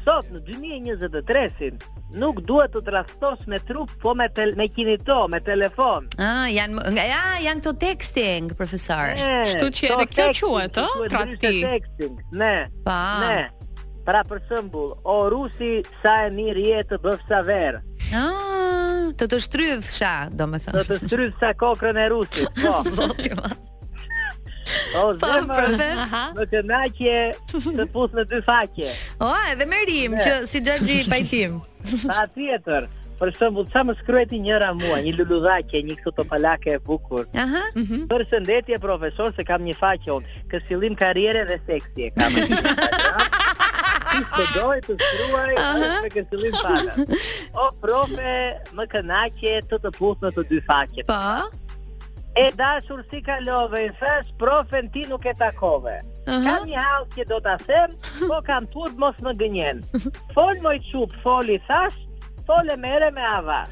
Sot në 2023-sin nuk duhet të trastos me trup, po me tel me kinito, me telefon.
Ah, janë më- nga ja, janë këto texting, profesor.
E,
Kështu që
to
edhe kjo
texting,
quhet, ë, pra
quhet
tradhti.
ndryshe texting, Ne.
Pa.
Ne. Pra për shembull, o rusi sa e mirë je të bëf sa verë.
Ah, të të shtrydhsha,
do
domethënë.
të stryt sa kokrën e rusit. Po,
Zoti ma.
o
Po,
zemër,
profe.
në kënaqje të pus në dy faqe.
O, edhe me rim që si Xhaxhi pajtim.
Pa tjetër, për shembull, sa më shkruajti njëra mua, një luludhaqe, një këto topalake e bukur.
Aha.
Përshëndetje profesor, se kam një faqe unë. Kësillim karriere dhe seksi e kam. Ti doj të shkruaj me kësillim faqe. O profe, më kënaqe të të puth në të dy faqet.
Po.
E dashur si kalove, i thash profen ti nuk e takove. Kam një hall që do ta them, po kam turp mos më gënjen. Fol moj çup, foli thash, fole mere me ava.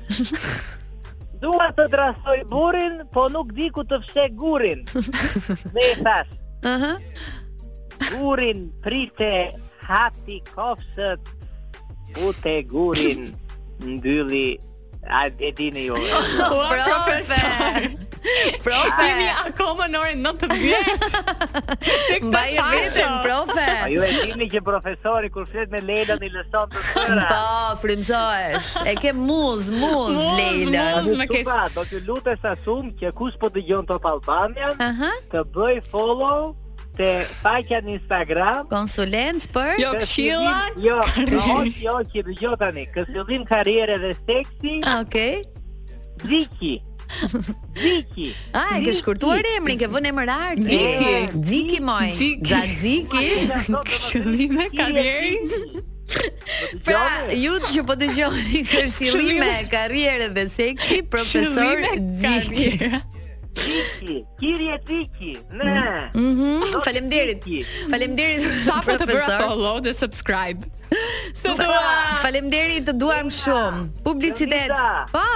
Dua të drasoj burin, po nuk di ku të fshek gurin. Dhe i thash,
Aha.
gurin prite, hati kofsët, ute gurin, mbylli, a e dini ju.
Profe.
Jemi
Profe.
akoma në orën 19. Tek ta
Mbaj veten profe.
A ju e dini që profesori kur flet me Leila i lëson të tëra.
Po, frymzohesh. E ke muz, muz,
Muz,
Leila.
muz. më kes.
Tupa, do t'ju lutesh asum që kush po dëgjon Top Albanian,
Aha.
të bëj follow te faqja në Instagram
Konsulenc për
Jo këshilla.
Kësillim- Jo, jo, jo, që dëgjoj tani. Kësillim karriere dhe seksi,
Okej.
Ziki. Ziki.
A, Ah, e ke shkurtuar emrin, ke vënë emër arti.
Dziki.
Dziki moj.
Dziki.
Za Dziki.
Këshillime karrieri.
Pra, ju që po dëgjoni këshillime,
Këshillime.
karriere dhe seksi, profesor Dziki.
Ziki. Kirje Ziki. Ne.
Mhm, faleminderit.
Ziki.
Faleminderit
Sa po të bëra
profesor.
follow dhe subscribe. Se do
Faleminderit, të duam shumë. Publicitet.
Lolita.
Po.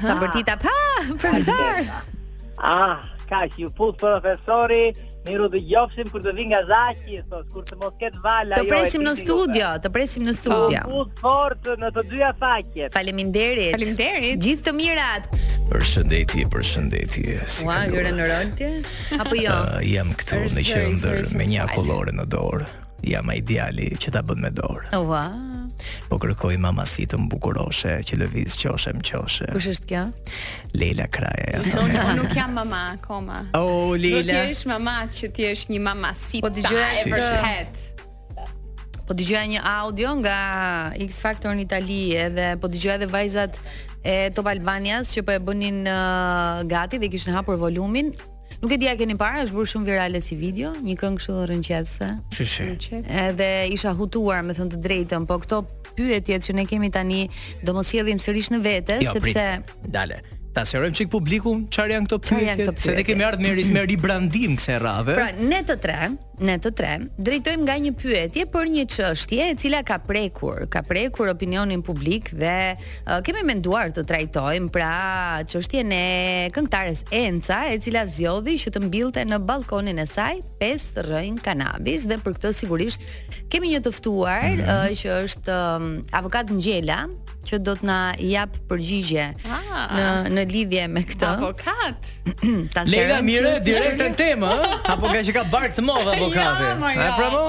Sa bërtita pa, profesor.
Ah, ka që ju put profesori, miru dhe gjofshim kur të vi nga zaki, thos, kur të mos ketë vala.
Të
jo, e
presim në
dini ju,
studio, të presim në
Po
studio.
fut fort në të dyja faqet.
Faleminderit.
Faleminderit.
Gjithë të mirat.
Përshëndetje, përshëndetje. Si
Ua,
kaluat?
jure në rëndje? Apo jo?
Ë, Eh, jam këtu
Është
në
zëri,
qendër
zëri
me një
sensuale.
akullore në dorë. Jam ai djali që ta bën me dorë.
Ua,
Po kërkoj mamasi të mbukuroshe që lëviz qoshe më qoshe.
kush është kjo?
Leila Kraja. ja thamë.
Unë nuk jam mama akoma.
Oh,
Do të
Leila.
jesh mama që ti jesh një mama si
Po dëgjoja
e
si, si.
vërtet.
Po dëgjoja një audio nga X Factor në Itali edhe po dëgjoja edhe vajzat e Top Albanias që po e bënin uh, gati dhe kishin hapur volumin. Nuk e di a keni parë, është bërë shumë virale si video, një këngë kështu rënqetëse.
Shishi.
Edhe isha hutuar, me thënë të drejtën, po këto pyetjet që ne kemi tani do mos sjellin sërish në vete,
Jo, prit.
sepse
Dale. Ta sqarojmë çik publikum çfarë janë këto
Çfarë janë
pyetje,
këto
se ne
pyetje?
kemi ardhur me ris- me rebrandim kësaj radhe.
Pra, ne të tre, ne të tre drejtojmë nga një pyetje për një çështje e cila ka prekur, ka prekur opinionin publik dhe uh, kemi menduar të trajtojmë pra çështjen e këngëtares Enca, e cila zgjodhi që të mbillte në balkonin e saj pesë rrënjë kanabis dhe për këtë sigurisht kemi një të ftuar
Mhm.
uh, që është um, avokat Ngjela që do të na jap përgjigje
Ah.
në në lidhje me këtë.
Avokat.
Ta
Leila
serojmë si
mire
është-
direkt në temë, ë? apo ka që ka bark të modh avokati.
Ja, ma,
A
ja.
e pravo?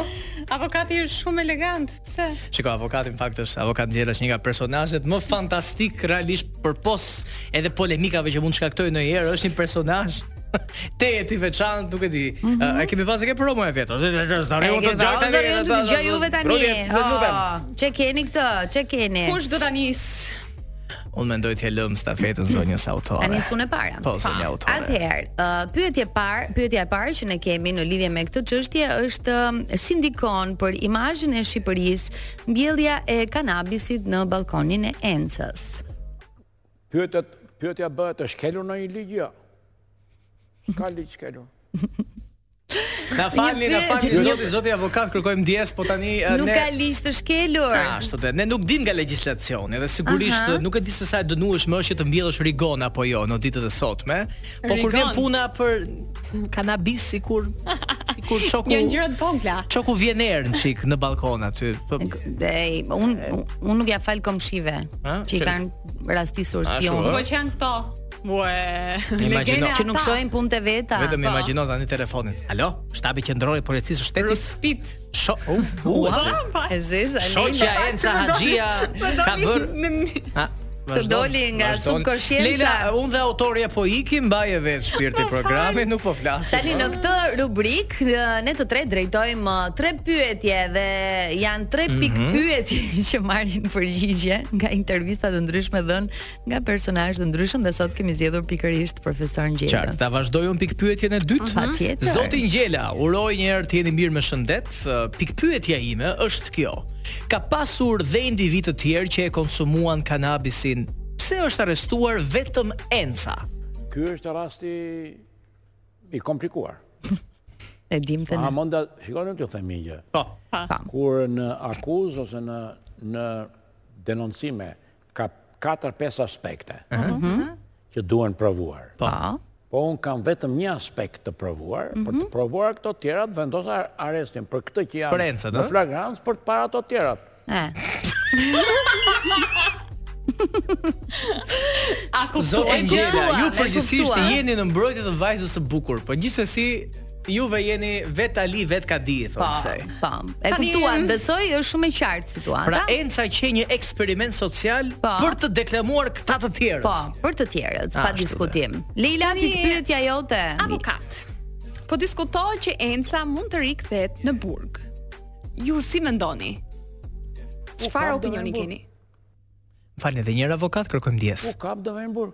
Avokati është shumë elegant. Pse?
Shiko, avokati në fakt është avokat Gjera është një nga personazhet më fantastik realisht përpos edhe polemikave që mund të shkaktojë ndonjëherë, është një personazh te e ti veçantë, nuk e di.
Mhm.
A, E kemi pas e ke promo e vet. Do
E
të
ke vallë, do rinë të dëgjoj juve tani. Oh, Çe keni këtë? Çe keni?
Kush do ta nis?
Unë mendoj t'ja lëm stafetën zonjës autore.
Tani sunë e para.
Po, zonja autore.
Atëherë, uh, pyetja e parë, pyetja e parë që ne kemi në lidhje me këtë çështje është ë, si ndikon për imazhin e Shqipërisë mbjellja e kanabisit në balkonin e Encës.
Pyetët, pyetja bëhet, është kelur në një ligjë? Ka ligjë kelur.
Na falni, na
pyetje-
falni
një-
zoti, zoti avokat, kërkojmë ndjes, po tani e,
Nuk
ne
ka ligj të shkelur.
Ah, ashtu dhe ne nuk dim nga legjislacioni dhe sigurisht
Aha.
nuk e di se sa e dënueshme është që të mbjellësh rigon apo jo në ditët e sotme, po kur vjen
Rigon.
puna për kanabis sikur sikur çoku
Një ngjyrë të vogla.
çoku vjen erë në çik në balkon aty. Po,
Dhe un un nuk ja fal komshive
Ha?
që i
Që-
kanë rastisur
Ashtu,
spion.
ë?
Po që janë këto. Ue,
Imagjino.
Që nuk shohin punë të veta.
vetëm
po.
imagjino tani telefonin. Alo, shtabi qendror i policisë së shtetit.
Ruspit.
Sho, u, u, e se-
E zeza,
Shoqja Enca Haxhia ka bër
Në-
Ha,
Të doli nga subkonscienca.
Leila, unë dhe autori po ikim, mbaje vetë shpirti programi, nuk po flasim.
Tani në këtë rubrik ne të tre drejtojmë uh, tre pyetje dhe janë tre pik
Mhm.
pyetje që marrin përgjigje nga intervista të ndryshme dhënë nga personazhe të ndryshëm dhe sot kemi zgjedhur pikërisht profesor Ngjela.
Qartë, ta vazhdoj unë pikpyetjen e dytë.
Mhm. Patjetër.
Zoti Ngjela, uroj një herë të jeni mirë me shëndet. Uh, Pikpyetja ime është kjo. Ka pasur dhe individ të tjerë që e konsumuan kanabisin. Pse është arrestuar vetëm Enca?
Ky është rasti i komplikuar.
E dim të
A
ne.
monda, shikoni të themi një gjë.
Po.
Kur në akuzë ose në në denoncime ka 4-5 aspekte
Mhm.
që duhen provuar.
Po.
Po un kam vetëm një aspekt të provuar, për të
Mhm.
provuar këto tjerat vendos ar- arrestin për këtë që janë
Për encët,
në
ëh?
flagrancë për të para ato tjerat.
A kuptua?
Zoti Ngjela, ju
e
përgjithsisht
kuptua.
jeni në mbrojtje të vajzës së bukur, po gjithsesi juve jeni vet ali, vet ka di, thonë se.
Po. E
Tani-
kuptuan, besoj është shumë e qartë situata.
Pra Enca që një eksperiment social për të deklamuar këta të tjerët.
Po, për të tjerët, pa
Ashtu dhe.
diskutim. Leila, pikpyetja jote.
Avokat. Po diskutohet që Enca mund të rikthehet në burg. Ju si mendoni? Çfarë opinioni keni?
Falni edhe një herë avokat, kërkojmë ndjes.
U kap do vjen burg.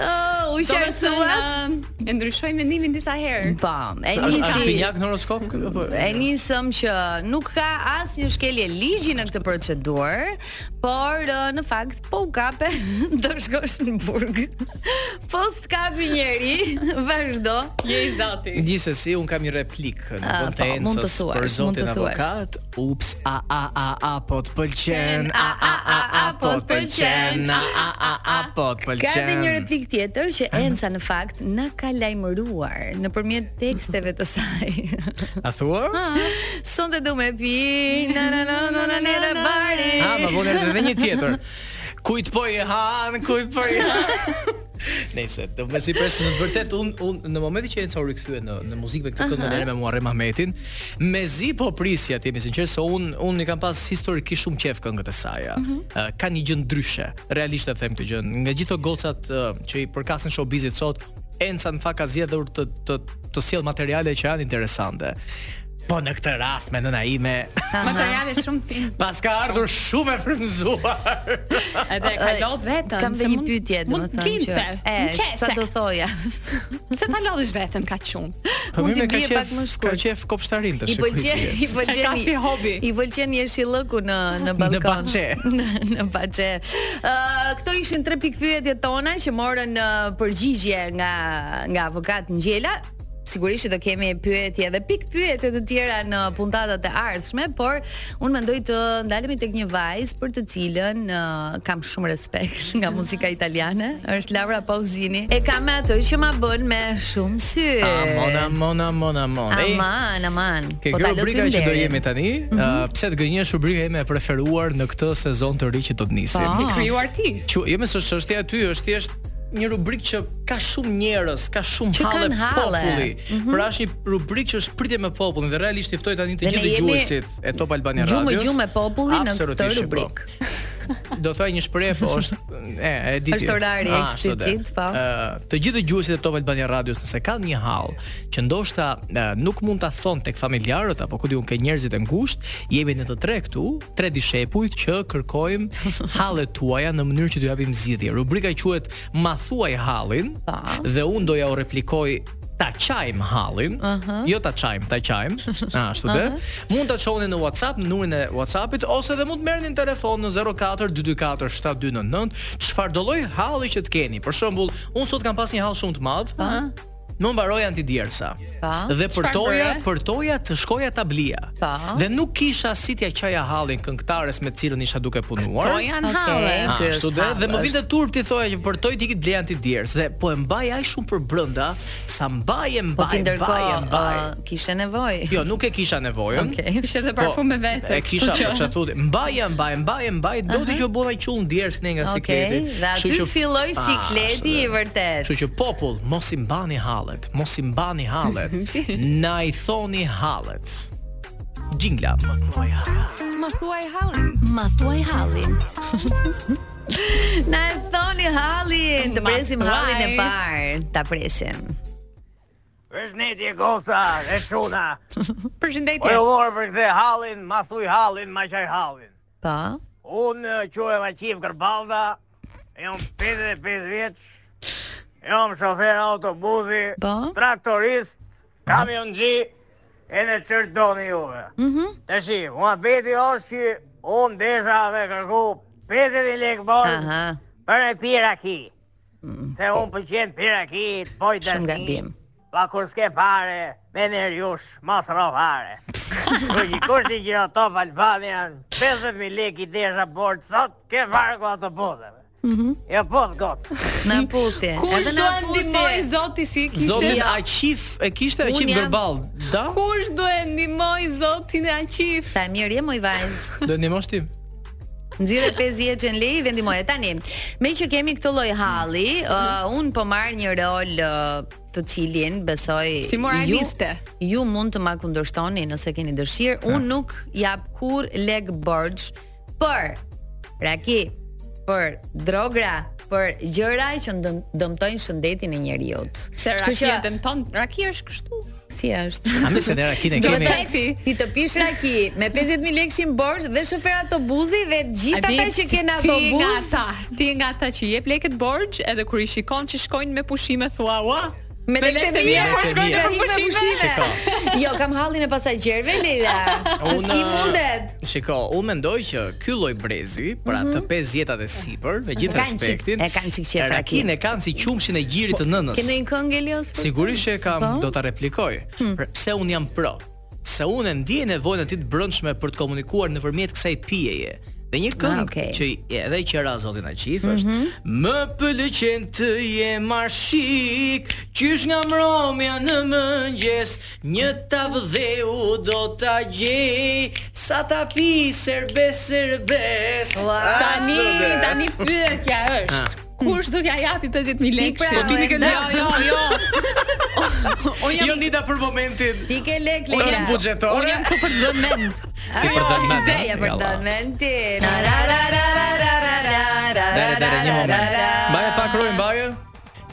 Oh, u qartësua.
E ndryshoj mendimin disa herë.
Po, e
Është është
nisi. Po,
pinjak në horoskop ky apo?
E nisëm që nuk ka asnjë shkelje ligji në këtë procedurë, por ë, në fakt po u kape do shkosh në burg. Po s'kapi njeri, vazhdo.
Je i zati.
Gjithsesi, un kam një replik në
Ah, po,
kontencës
mund të thuash,
për
mund të
zotin
thuash.
avokat. Ups, a a a a po të pëlqen, a a a a po të pëlqen, a a a a po të
Ka edhe një
pëlqen.
replik tjetër që Enca në fakt na ka lajmëruar nëpërmjet teksteve të saj.
A thua?
Sonte do me pi, na na na na na na na bari.
A, më vonë erdhi edhe një tjetër. Kujt po i han, kujt po i han. Nëse, do më si pres në të vërtet un un në momentin që Enca u rikthye në në muzikë me këtë këngë
Aha.
me me Muharrem Ahmetin, mezi po prisja, të jemi sinqer se un un i kam pas historikisht shumë qef këngët e saj. ja. Ë, Ka një gjë ndryshe. Realisht e them këtë gjë. Nga gjithë ato gocat ë, që i përkasin showbizit sot, Enca në fakt ka zgjedhur të të të sjell materiale që janë interesante. Po në këtë rast me nëna ime
Materiale shumë tim.
Pas ka ardhur shumë e frymzuar.
Edhe e kalon vetën.
Kam
se
dhe një
mund-
pyetje
mund
domethënë që
t'linte,
e
në qese.
sa do thoja.
Pse ta lodhish veten kaq shumë?
Po
Mund
mirë,
t'i
ka
bie
qef,
pak më
ka
shkurt.
qef kopshtarin tash.
I po pëlqen, i pëlqen.
E ka si hobi.
I pëlqen jeshillëku në në balkon.
baxhe.
Në, në baxhe. Ë, këto ishin tre pikpyetjet tona që morën ë, përgjigje nga nga avokat Ngjela. Sigurisht që do kemi pyetje dhe pikpyetje të tjera në puntatat e ardhshme, por unë mendoj të ndalemi tek një vajzë për të cilën ë, kam shumë respekt nga muzika italiane, është Laura Pausini. E kam atë që ma bën me shumë sy.
Amon, amon, amon, amon. Ej,
Aman, aman.
Ke
Po ta Mhm. lë
kjo rubrika që do
nderi.
jemi tani, uh, pse të gënjesh rubrika ime e preferuar në këtë sezon të ri që do të
Po,
nisim.
Ke krijuar ti.
Që jo më s'është çështja e ty, është thjesht një rubrikë që ka shumë njerëz, ka shumë
Që
halle
kanë halle.
populli.
Mhm.
Pra është një rubrikë që është pritje me popullin dhe realisht i ftoj tani të
Dhe ne
gjithë
jemi
dëgjuesit e Top Albania Radios.
Gjumë gjumë e populli në këtë
Absolutisht, po.
rubrikë.
do thoj një shpreh, po është e e di. ti.
Është orari
Ah, ashtu dhe.
eksplicit, po.
Ë, të gjithë dëgjuesit e Top Albania Radios nëse kanë një hall që ndoshta ë, nuk mund ta thon tek familjarët apo ku diun ke njerëzit e ngushtë, jemi në të tre këtu, tre dishepujt që kërkojmë hallet tuaja në mënyrë që t'ju japim zgjidhje. Rubrika quhet Ma thuaj hallin dhe unë doja u replikoj ta qajm hallin, jo ta qajm, ta qajm, ashtu dhe. Mund ta çoni në WhatsApp, në numrin e WhatsAppit ose edhe mund të merrni në telefon në 04 224 7299, çfarë do lloj halli që të keni. Për shembull, unë sot kam pas një hall shumë të madh. Më mbaroj antidjersa.
Pa.
Dhe
Çfarë
përtoja,
bëre?
përtoja të shkoja tablia.
Pa.
Dhe nuk kisha si t'ja qaja hallin këngëtares me të cilën isha duke punuar.
Po janë
Okej.
halle.
E,
Ah,
ky
Ashtu
është
dhe dhe
hall,
më vinte turp ti thoja që përtoj ti kit lejan ti djerës dhe po e mbaj aj shumë për brenda sa mbaj e
Po
mbaj
ti
mbaj
ndërkohë
e mbaj.
ë, kishe nevojë.
Jo, nuk e kisha nevojën.
Okej.
Kishe edhe
Po,
parfum me vete.
E kisha
kështu
po çfarë thotë, mbaj e mbaj, mbaj e mbaj, do të që u bova i qull ndjerës ne nga
Okej,
sikleti.
dhe
Po, Kështu
aty
që-
filloi
Ah,
sikleti i vërtet.
Kështu që popull, mos i mbani hallet, mos i mbani hallet. Na i thoni hallet. Gjingla.
Ma thuaj hallin.
Ma thuaj hallin. Na e thoni hallin, të presim
thuaj.
hallin e parë, ta presim.
Përshëndetje gosa e shuna.
Përshëndetje.
O ju vore për këtë hallin, ma thuj hallin, ma qaj hallin.
Po.
Unë eh, quhem Aqif Gërbalda, jam 55 vjeç. Jam shofer autobusi,
Po?
traktorist, kamionxhi, e në qërë doni juve.
Mhm.
Të shi, mua beti është që unë desha me kërku 50 lekë bojnë për e pira ki. Se unë pëlqen pira ki, të boj dërni.
Mm. Shumë gabim.
Pa kur s'ke pare, me nërë jush, ma së fare. Kër që kur që gjëra top Albanian, 50.000 lekë i desha bord sot, ke vargu ato bozeve.
Mhm.
Jo po të gotë.
Na puthje.
Kush do e ndihmoj Zoti si e kishte?
Zotin Aqif e kishte
Unë
Aqif
jam-
Gërball. Da?
Kush do e ndihmoj Zotin e Aqif?
Sa mirë je moj vajz.
Do ndihmosh ti?
Nxirë 50 lei dhe ndihmoje tani. Me që kemi këtë lloj halli, uh, un po marr një rol uh, të cilin besoj
Si moraliste.
Ju, ju mund të ma kundërshtoni nëse keni dëshirë. Un nuk jap kur leg borx për raki, për drogra, për gjëra që ndëm- dëmtojnë shëndetin e njeriu.
Se rakia dëmton, rakia është kështu.
Si është?
A me se ne rakin e
Do
kemi.
të thënë, ti të pish raki me 50000 lekë shin borxh dhe shofer autobusi dhe gjithë ata që kanë
Ti je nga
autobus
ata, ti je nga ata që jep lekët borxh, edhe kur i shikon që shkojnë me pushime thua, "Ua,
me lekë të mia
po shkojnë me pushime."
Jo, kam hallin e pasagjerëve Leila. Se
Unë-
si mundet?
Shiko, unë mendoj që ky lloj brezi, pra të 50-tat e sipër, me gjithë
Mhm. E kanë qik-
respektin,
e kanë qik qef rakin.
rakin e kanë si qumshin e gjirit të nënës.
Ke ndonjë këngë Elios? për
Sigurisht
të?
që e kam,
Po?
do ta replikoj.
Hmm.
Pra, Pse un jam pro? Se unë e ndjej nevojën e ti të brëndshme për të komunikuar nëpërmjet kësaj pijeje. Dhe një këngë
Ah, okay. Mhm.
që i- edhe që ra zotin Aqif është Më pëlqen të jem arshik Qysh nga mromja në mëngjes Një tavë dheu do ta gjej Sa ta pi serbes serbes Ah,
Ua,
Po, Tani, tani pyetja është. Kush do t'ja japi 50000 lekë?
pra, Po ti mi ke
jo,
lekë.
jo, jo. Unë jam
Jo nida për momentin
Ti ke lek
Unë
Leila.
Po, është buxhetore
unë jam super dëmend.
Ti për dënë mend,
Ja
ha?
për
Jalla.
dëmenti. Na ra ra ra ra ra ra ra ra
Dere,
ra
dere, një
ra ra
moment.
ra.
Mbaje pak rojë, mbaje.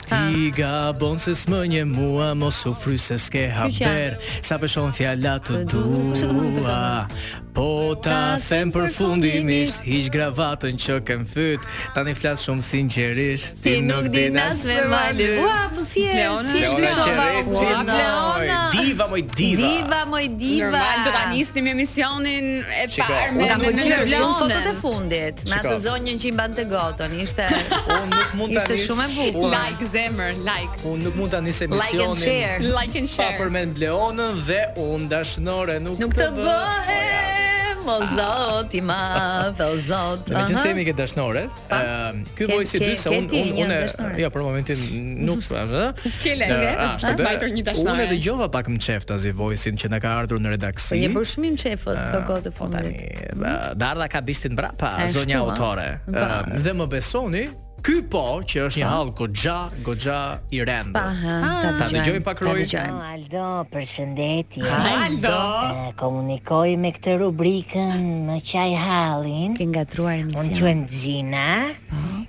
Ti gabon se s'më një mua Mos u fry se s'ke
Kyqa.
haber Sa pëshon fjalla të
kushtet e mund të
dua Po ta them për fundimisht Hiq gravatën që kem fyt Tani flas shumë sinqerisht Ti nuk din as me mali
Ua, po si e
Leona,
si e
Leona
ndryshova.
Qerreti,
Ua,
moj, Diva, moj diva
Diva moj diva.
Normal do ta nisnim emisionin e
Shiko,
parë
U
me
kam
me- me
pëlqyer shumë
Leonën.
fotot e fundit, me atë
Shiko.
zonjën që i mbante gotën. Ishte
Unë nuk mund ta
Ishte
nis
shumë e bukur.
Like zemër, like.
Unë nuk mund ta nis
Like and
emisionin
share.
Like and
Pa
share.
përmend Leonën Dhe unë dashnore nuk,
Nuk të bëhem, o zot i madh, o zot.
Në meqen se
aha.
jemi këtë dashnore,
Pa.
ëm,
Ke-
ky voj si
ke-
dy se
ke
unë
ti
unë
një
unë
dashnore?
jo për momentin nuk thua, ëh.
Skele,
Ë,
ke?
a,
Ha?
shtë, do-
Mbajtur një dashnore.
Unë e dëgjova pak më çeft tazi vojsin që na ka ardhur në redaksi.
Po një bërë shmim shefët këto kohë të Mhm.
Po tani,
fundit.
ë, Darda ka bishtin brapa
E, kështu,
zonja
a?
autore.
Po.
Ë, Dhe më besoni, ky po që është një hall goxha, goxha i
Pa,
rendë.
ha,
Ta dëgjojmë pak
ta
roj.
dëgjojmë.
Aldo, përshëndetje.
Aldo.
Eh, Komunikoj me këtë rubrikën me qaj hallin.
Ke ngatruar
Unë
emision.
quhem Gjina,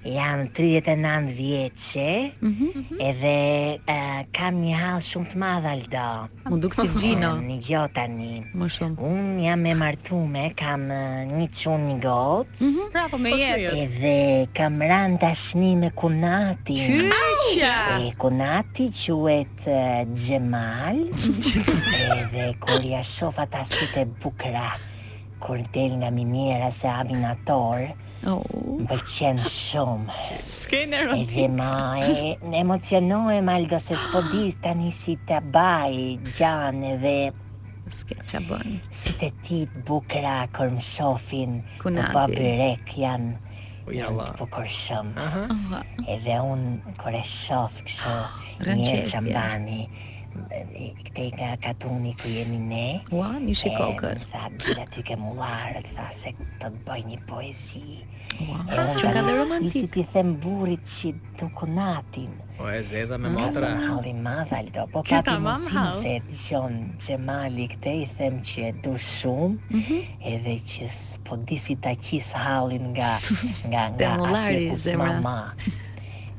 jam 39 vjeqe, edhe eh, kam një hall shumë të madh Aldo.
Mu duk si Gjino,
Em, Një gjo tani.
më shumë.
Unë jam e martume, kam eh, një çun një gocë,
Mhm.
Bravo me jetë.
edhe kam rënë tashni me kunatin.
Qyqa.
E konati quhet eh, Gjemal Edhe kur ja shof ata sytë e bukra Kur del nga miniera se aminator
Oh.
Më pëlqen shumë
Skenë
Edhe
erotik.
ma e, në emocionohem Aldo se s'po di tani si të baj Gjan edhe
S'ke qa bën.
si të ti të bukra Kur më shofin
Kunati.
Të babyrek janë
Po
janë
jalla.
të bukur shumë
Aha.
Aha.
Edhe unë kër e shof kështu një
Rënqesja.
shambani
eh,
Këte nga katuni ku jemi ne
Ua, mishi
e,
kokër.
Më tha, bila ty ke mullarë Tha se të bëj një poezi
Ua,
E unë
që ka
tani
dhe
s'di
romantik.
Isi ti them burrit që dukunatin.
O Po, e zeza me
Ka
motra.
zënë halli madh Aldo, po
Ky
kapi
tamam
mundësin
hall.
se e dëgjon Gjemali këte i them që e du shumë,
Mhm.
edhe që s'po di si ta qis hallin nga, nga, nga
Demollari,
atje ku
zemra.
mama.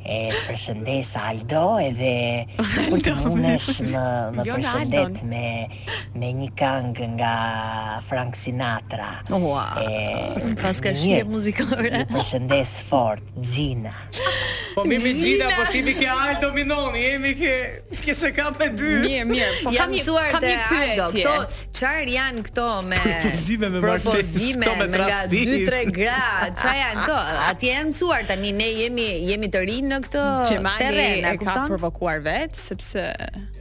E përshëndes Aldo edhe kur të mundesh më, më
Jo në
përshëndet
Aldon.
me, me një kangë nga Frank Sinatra.
Ua, pas ka shije muzikore.
Ju përshëndes fort, Gjina.
Po mi mi Gjina, po si mi ke Aldo dominoni, jemi ke ke se ka me dy.
jam Po, mësuar te Aldo. Këto çfarë janë këto me
Propozime me martesë,
propozime
këto me
me nga
tradhtim.
2-3 gra. Çfarë janë këto? Atje janë mësuar tani ne jemi jemi të rinë në këtë
Gjemali
terren, a
e ka
uh, kupton?
provokuar vetë sepse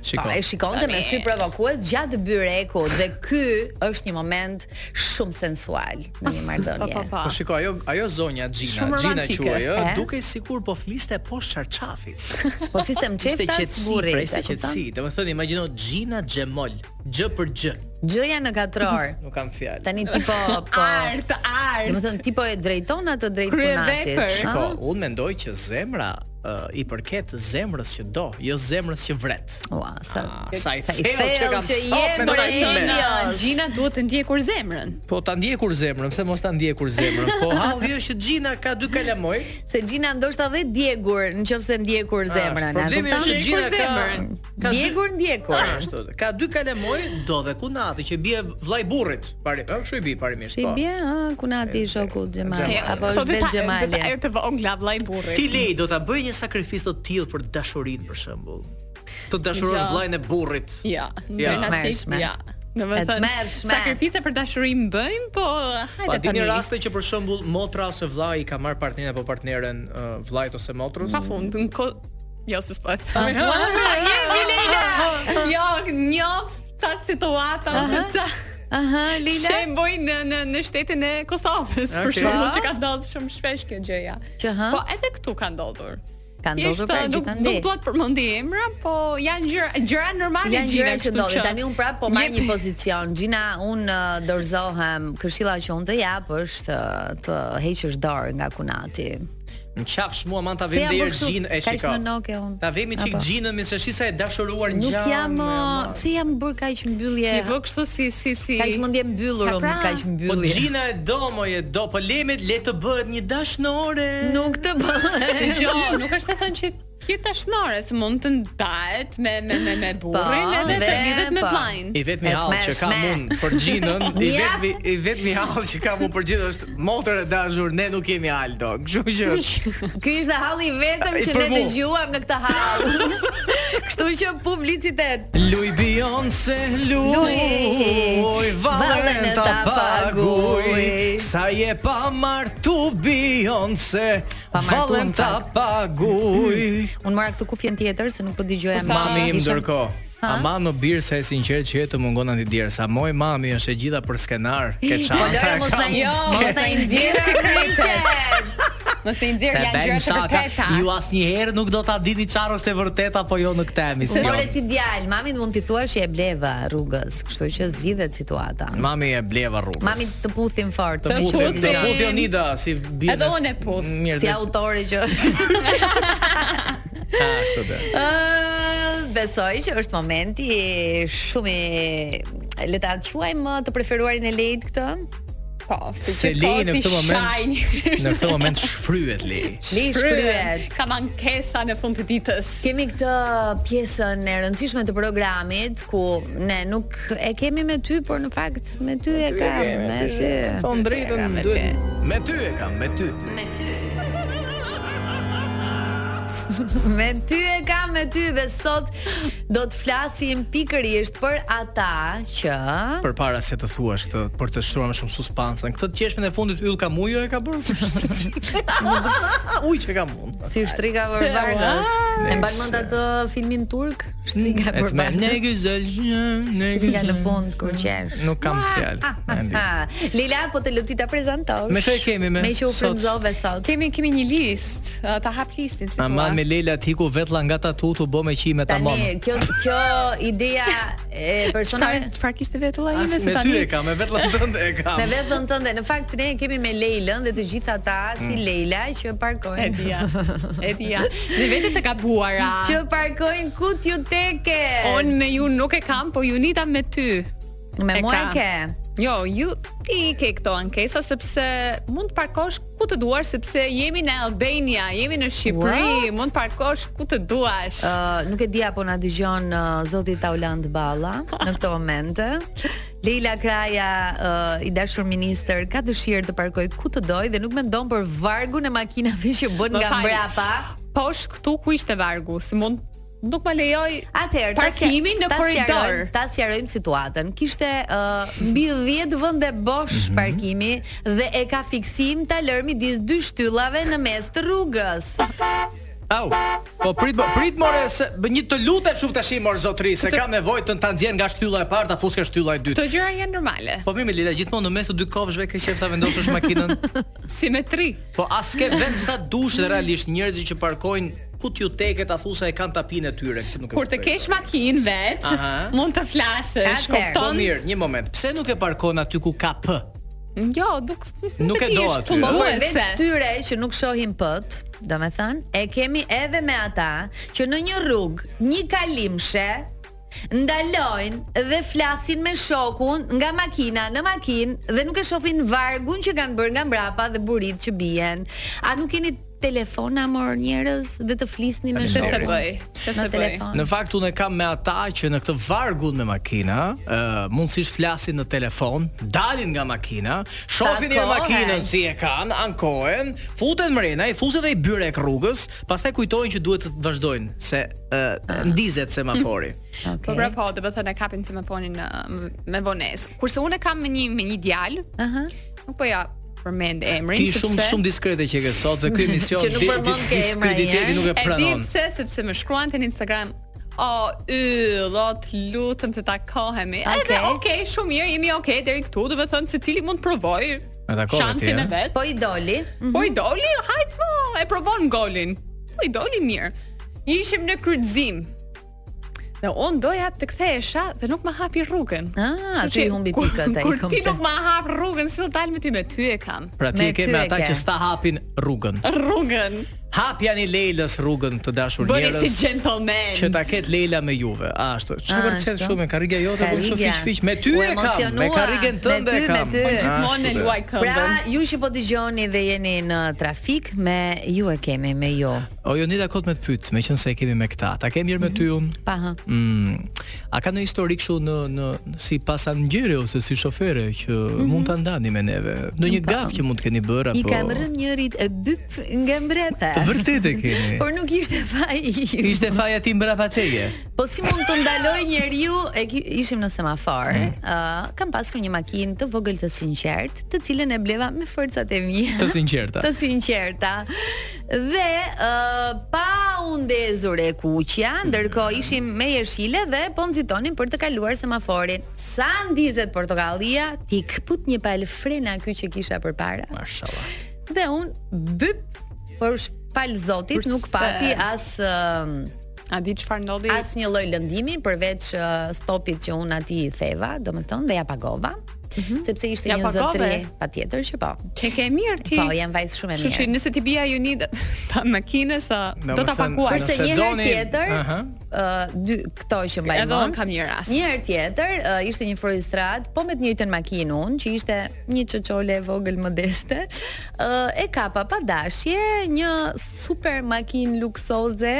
Pa, e shikonte me sy provokues gjatë byrekut dhe ky është një moment shumë sensual në një marrëdhënie.
Po shiko, ajo ajo zonja Gjina,
Shumë
Gjina
romantike.
quaj, ë,
E?
dukej sikur po fliste poshtë çarçafit.
Po fistem
Ishte
çeftas
qetësi,
burrit.
pra ishte
e kupton?
qetësi. Domethënë imagjino Gjina Xhemol, G për G.
Gjëja në katror.
Nuk kam fjalë.
Tani ti po po art, art. Domethënë ti po e drejton atë drejt punatit.
Shiko,
ëh?
unë mendoj që zemra ë, i përket zemrës që do, jo zemrës që vret.
Ua, sa
Ah, sa i
sa i
thellë që
thellë
kam
që
sot
je,
me
bre,
trajtime.
Elios. Gjina Ah, duhet të ndjekur zemrën.
Po ta ndjekur zemrën, pse mos ta ndjekur zemrën? Po halli është që Gjina ka dy kalamoj.
Se Gjina ndoshta dhe djegur, nëse ndjekur zemrën, a
Ah, Problemi
kupton?
është që Gjina ka ka dy-
Djegur ndjekur.
po Ashtu. Ka dy kalamoj do dhe kunati që bie vllai burrit. Pari, ë, kështu i bie parimisht.
Shi
po.
bie, ë, kunati i shokut Xhamali
Xhamali.
apo
Këto
është vetë
deta-
Xhamali.
deta-
Ajo të vë ongla vllai burrit.
Ti lej do ta bëj një sakrificë të tillë për dashurinë për shembull. Të dashurosh
Jo.
vllajën e burrit.
Ja,
Ja.
në
Tmerrshme.
Ja. Në më
E
thënë,
tmerrshme.
sakrifica për dashurim bëjmë, po
Pa
hajde
di
tani.
një raste që për shembull motra ose vllai ka marr partnerin apo partneren uh, vllajt ose motrës.
Pa fund, në ko... Jo, se s'po e
Ah,
thëmë.
ah,
Jemi, Leila! Jo, njof, ca situata, ose ca...
Aha, Leila.
Shemboj në në në shtetin e Kosovës, për
Okej.
shembull,
Po.
që ka ndodhur shumë shpesh kjo gjëja.
Që, ha?
Po edhe këtu ka ndodhur.
Ka ndodhur
Thjesht,
pra
nuk-
gjithandej.
Nuk dua të përmendi emra, po janë gjëra gjëra normale
Janë gjëra që
kështu
ndodhin. Tani un prap po marr
Jep-
një pozicion. Gjina, un uh, dorëzohem. Këshilla që un të jap është uh, të heqësh dorë nga kunati.
Në qafsh mua man ta
Se
vim
jam
dhe
bërë
erë
kështu,
gjin e
kaq
shiko.
në noke unë.
Ta vemi çik
Apo.
gjinën me se shisa e dashuruar
Nuk
ngjan.
jam, uh, pse jam bër kaq mbyllje?
Je bë po kështu si si si.
Kaq mendje mbyllur
Ka
un,
pra.
kaq
Po
mbyllje.
gjina e do moj e do, po lemet le të bëhet një dashnore.
Nuk të bëhet.
Dgjoj, nuk është e thënë që je tashnore, se mund të ndahet me me me me burrin
Po,
edhe se
dhe,
lidhet me
po.
vllain.
I vetmi hall që kam unë për gjinën, i vetmi i vetmi hall që kam unë për gjinën është motër e dashur, ne nuk jemi Aldo. Kështu që
Ky ishte halli i vetëm
I
që
për
ne
mu.
dëgjuam në këtë hall. Kështu që publicitet.
Luj Beyoncé, luj,
Luj,
valen
vallën
ta
ta
paguj,
paguj.
sa je pa martu Beyoncé,
Pa martu,
valen
në
ta
fakt.
paguj.
Un mora këtu kufjen tjetër se nuk po dëgjoja më.
Mami im ndërkohë.
Ha?
Ama më birë se e sinqertë që e të mungon antidjerë Sa moj mami është e gjitha për skenar Ke
Po
çanta
Lore,
e
mos
kam.
na- jo,
Ke-
mos na i nxjerrë sekretet.
Mos të
Se
nxjerr janë
bëjmë
gjëra të
shaka,
vërteta.
Ju asnjëherë nuk do ta dini çfarë është e vërteta apo jo në këtë
Se
emision.
more si djalë, mami mund t'i thuash që e bleva rrugës, kështu që zgjidhet situata.
Mami e bleva rrugës.
Mami të puthim fort.
të puthi, të puthi Onida si biznes.
Edhe unë e puth.
Mirë.
Si
dhe-
autori që
Ah, ashtu dhe.
Ë, besoj që është momenti shumë i le ta quajmë të preferuarin e lejt këtë.
Po,
Se Lei në këtë moment në këtë moment shfryhet Lei.
Li shkryet.
Ka mankesa në fund të ditës.
Kemi këtë pjesën e rëndësishme të programit ku ne nuk e kemi me ty, por në fakt me ty e kam, me ty.
Po drejtën
Me ty.
duhet. Me ty e kam, me ty. Me ty.
Me ty e kam me ty dhe sot do të flasim pikërisht për ata që
Përpara se të thuash këtë për të shtruar më shumë suspansën, këtë qeshmën e fundit Yll Kamujo e ka bërë. Uj që kam unë.
si shtrika për Vargas. E mban mend atë filmin turk, shtrika për
Etme ne
Vargas.
gëzël, ne
Nga
gëzël.
në fund Ah, kur qesh.
Nuk kam Mm, fjalë. e ndi.
Ha, Lila po të lutita prezantosh.
Me këtë e kemi me
Me që u
sot.
frymzove sot.
Kemi kemi një listë, uh, ta hap listin si
Aman me Leila ti ku vetlla nga tatutu bë me qime tamam.
Tani kjo kjo ideja e personave
çfarë kishte vetulla
As
ime se
me
tani.
ty e kam, me vetllën tënde e kam.
Me vetën tënde, në fakt ne kemi me Leilën dhe të gjithë ata si
Mm.
Leila që parkojnë.
E dia. E dia. Dhe vetë të gabuara.
Që parkojnë ku t'ju teke.
On me ju nuk e kam, po ju nita me ty.
Me mua e
kam.
ke.
Jo, ju ti i ke këto ankesa sepse mund të parkosh ku të duash sepse jemi në Albania, jemi në Shqipëri,
What?
mund të parkosh ku të duash.
Ah.
Ë, nuk e di apo na dëgjon uh, zoti Tauland Balla në këtë moment. Leila Kraja, uh, i dashur ministër, ka dëshirë të parkoj ku të doj dhe nuk mendon për vargun e makinave që bën
Më
nga
fal.
mbrapa.
Po është këtu ku ishte vargu, si mund nuk ma lejoj
Atëherë, ta sja-
parkimin në
ta
korridor.
sqarojmë- Ta sqarojmë situatën. Kishte uh, mbi 10 vende bosh parkimi dhe e ka fiksim ta lër midis dy shtyllave në mes të rrugës.
Au. Po prit mo- prit more se bë një të lutem shumë tash mor zotri se kam nevojë të ta nxjerr nga shtylla e parë ta fus ka shtylla e dytë.
Këto gjëra janë normale.
Po mirë me Leila gjithmonë në mes të dy kofshëve ke qef ta vendosësh makinën.
Simetri.
Po as ke vend sa dush dhe realisht njerëzit që parkojnë ku t'ju teket ta fusa e kanë tapinë e tyre, këtë nuk e
Kur të
kuptoj.
kesh makinë vet,
Aha.
mund të flasësh,
Po
kupton?
mirë, një moment. Pse nuk e parkon aty ku ka p?
Jo, duk
Nuk e do
ish
aty.
tu
Po
duese.
përveç këtyre që nuk shohin pët, do me thënë, e kemi edhe me ata që në një rrugë, një kalimshe, ndalojnë dhe flasin me shokun nga makina në makinë dhe nuk e shohin vargun që kanë bërë nga mbrapa dhe burit që bien. A nuk keni telefona mor njerëz dhe të flisni me
Faleminderit.
shokun?
Të se bëj, të se
Në
bëj.
telefon.
Në fakt unë e kam me ata që në këtë vargun me makina, ë mundësisht flasin në telefon, dalin nga makina, shohin një
Takohen.
makinën si e kanë, ankohen, futen mrena, i fusin dhe i byrek rrugës, pastaj kujtojnë që duhet të vazhdojnë se
Ah.
ë ndizet semafori.
Po pra po, do të thënë e kapin telefonin në me vonesë. Kurse unë e kam me një me një djalë,
Aha.
nuk po ja përmend emrin
Ti shumë shumë diskrete që ke sot dhe ky emision
Që nuk
di-
përmend
di-
ke emra
diskrediteti
njerë.
nuk e
di
pranon.
pse, sepse më shkruan te në Instagram O, y, lot, lutëm të takohemi Edhe,
Okej.
okej, shumë mirë, jemi okej deri këtu Do të thënë se cili mund provoj
E dakove ti,
Shansin
e?
e vetë
Po i doli.
Po i doli, hajt mo, e provon golin. Po i doli mirë. Ishim në kryqëzim. Dhe unë doja të kthehesha dhe nuk më hapi rrugën.
Ah,
Kështu
ty
që
i humbi
kur-
pikët ai
Kur ti
komplet.
nuk më hap rrugën, si do dal me ty me ty e kam.
Pra ti
Me
e ke
ty
me
e
ata
ke.
që sta hapin rrugën.
Rrugën.
Hap janë i Leilës rrugën të dashur
Bëni
njerëz.
si gentleman.
që ta ket Leila me Juve. A ashtu. Çfarë përcjell
ashtu.
shumë me karrige jote, po shumë
Karrigja.
fiq fiq me ty
U
e kam, me
emocionua,
karrigen tënde
me
e
ty,
kam.
me ty.
A,
Gjithmonë e
ashtu.
luaj këmbën.
Pra, ju që po dëgjoni dhe jeni në trafik, me ju e kemi, me ju.
O jo nida kot me të pyet, meqense e kemi me këta. Ta kemi mirë me ty unë.
Pa hë.
Mm. A ka në histori kështu në në si pasangjeri ose si shofere që mund ta ndani me neve? Ndonjë
Po.
gaf që mund të keni bërë
Mhm.
apo?
I kam rënë njërit e byp nga mbrapa.
Po. Vërtet e keni.
Por nuk ishte faj im.
Ishte faja ti mbrapa teje.
Po si mund të ndaloj njeriu, e ki, ishim në semafor. Ë,
Mm.
kam pasur një makinë të vogël të sinqert, të cilën e bleva me forcat e mia.
Të sinqerta.
Të sinqerta. Dhe ë pa u ndezur e kuqja,
Mhm.
ndërkohë ishim me jeshile dhe po nxitonin për të kaluar semaforin. Sa ndizet portokallia, ti kput një palë frena ky që kisha përpara.
Mashallah.
Dhe un byp por fal zotit
Përse?
nuk pati as ëm,
A di çfarë ndodhi?
as një lloj lëndimi përveç ë, stopit që un aty i theva, domethënë dhe ja pagova. Sepse ishte
Mhm. Ja
një
pagove?
zotëri patjetër që po.
Që ke mirë ti.
Po, jam vajzë shumë e
Kështu që
mirë.
nëse ti bia ju nid ta makinës a do ta
Domethënë,
pakuar.
nëse
Kurse një herë
doni-
tjetër,
Aha.
ë, dy këto që mbaj
Edhe
mend.
unë kam një rast.
Një herë tjetër ë, ishte një frustrat, po me të njëjtën makinë unë, që ishte një çoçole e vogël modeste. ë, e kapa pa dashje një super makinë luksoze,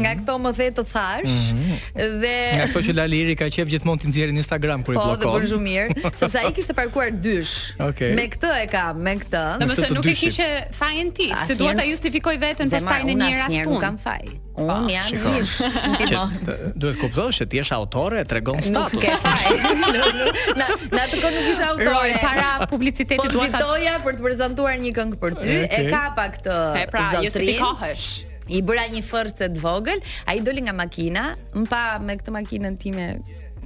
nga këto më the të thash, dhe
Mhm. Nga ato që Laliri ka qef gjithmonë ti nxjerrin në Instagram kur i
Po,
bllokon.
dhe bën shumë mirë, sepse ai kishte parkuar dysh.
Okej.
Me këtë e kam, me këtë.
Domethënë
të
nuk e
dyshit.
kishe fajin ti, se
Asnjëherë-
dua ta justifikoj veten
Zemra,
pastaj në
unë
një rast
asnjëherë
unë.
nuk kam faj. Unë jam
shiko.
dysh, nuk i
Që,
mor.
të, duhet kuptosh se ti je autore, tregon status.
Po. Nuk ke faj. Nuk- nuk- na na të kohë nuk isha autore.
Roj, para
Po
publicitetit dua ta
nxitoja për të prezantuar një këngë për ty, e
Okej.
kapa këtë
E pra,
zotrin.
justifikohesh.
I bëra një forcë të vogël, ai doli nga makina, më pa me këtë makinën time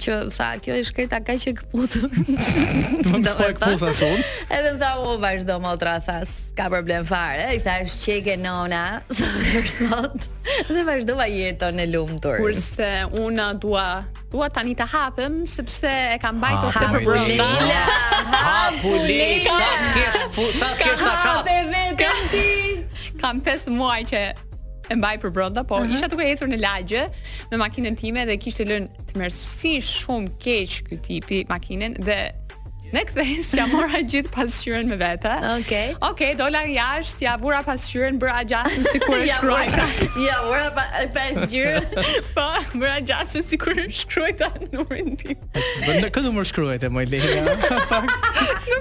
që tha kjo e shkreta ka që e këputur.
Më më s'po e
Domethënë-
këpusa se unë.
Edhe më tha, o, vazhdo motra, tha, s'ka problem fare. I thash, çeke nona, sa për sot. Dhe vazhdova jetën e lumtur.
Kurse unë dua dua tani të hapem sepse e kam
Ah,
bajtur këtë për brenda.
Hapuli, sa të kesh fu- sa të kesh takat.
vetëm ti. Kam 5 muaj që e mbaj për brenda, po
Mhm.
isha duke ecur në lagje me makinën time dhe kishte lënë të mërsi shumë keq ky tipi makinën dhe Në kthehen s'ja mora gjithë pasqyrën me vete.
Okay.
Okej. Okej, dola jashtë, ja vura pasqyrën, bëra gjasën sikur e
Ja vura-
shkruajta.
ja, vura pa, pasqyrën.
po, bëra gjasën sikur e shkruajta në numrin tim.
Bën në këtë numër shkruajte më Leila. Pak.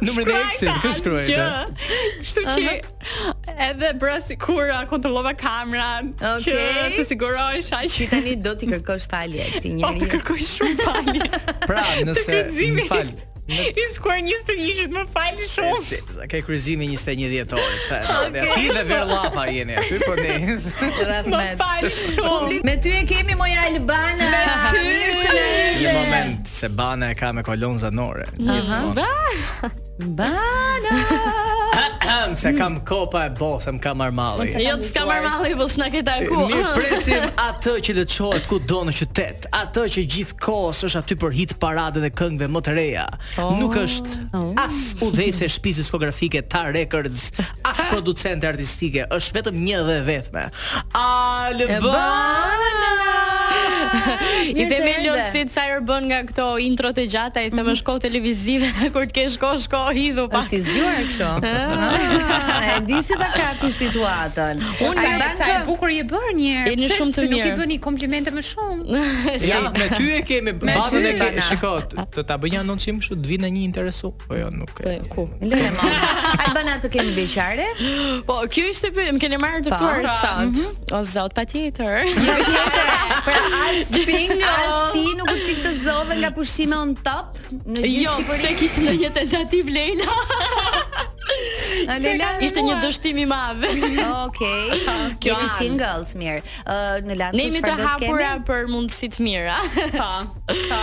Numrin e eksit, kë shkruajte?
Gjë. Kështu që edhe bëra sikur uh, kontrollova kameran,
Okej.
që të sigurohesha
Ti
që
tani do t'i kërkosh falje këtij njeriu. Po,
kërkoj shumë falje.
Pra,
Të
nëse
kryqëzimit.
më fal.
i skuar 21-shit më fal shumë.
Sa ke kryqëzimin 21 dhjetori.
Okej.
Ti dhe Verllapa jeni aty, po ne.
Rahmet.
Më fal shumë.
Publik- Me ty e kemi moj Albana. Mirë se na
Një
erdhe.
moment se bana e ka me kolon zanore.
Aha. Bana.
Ahem, se kam kopa e bosëm kam armalli.
Jo, s'ka marrë malli, po s'na ke taku.
Mirë presim atë që lëçohet ku do në qytet, atë që gjithë kohës është aty për hit parade dhe këngëve më të reja. Nuk është as udhëse shtëpisë diskografike Ta Records, as producente artistike, është vetëm një dhe vetme. Albana.
I
Mirë
dhe
se
me
erdhe.
lorësit sa herë bën nga këto introt e gjata, i them është kohë televizive, kur të kesh kohë shko hidhu pa.
Mhm. Është i zgjuar kështu. Ah, E di si ta kapi situatën.
Unë
Sa-
sa, sa e bukur je bërë një herë.
Jeni
pse-
shumë të
se Nuk i
mirë.
bëni komplimente më shumë.
Ja, me ty e kemi
Me
babën e
ty.
kemi. Shiko, t- të ta bëj një anoncim kështu të vinë një interesu. Po jo, nuk e.
Ku?
Lele mo. Albana të kemi beqare?
Po, kjo ishte pyetje, më keni marrë të
Pa.
ftuar
Pa, Mhm.
sot. O zot, patjetër.
As ti, as ti nuk u çik të zove nga pushime on top në gjithë
Jo,
Shqipërinë.
pse kishte ndonjë tentativë Leila?
A, Leila
Ishte një dështim i madh.
Okej. Kjo
Kemi
singles mirë. Ë në Lanço
Ne jemi të
çfarë do
hapura për mundësi të mira. Po. Po.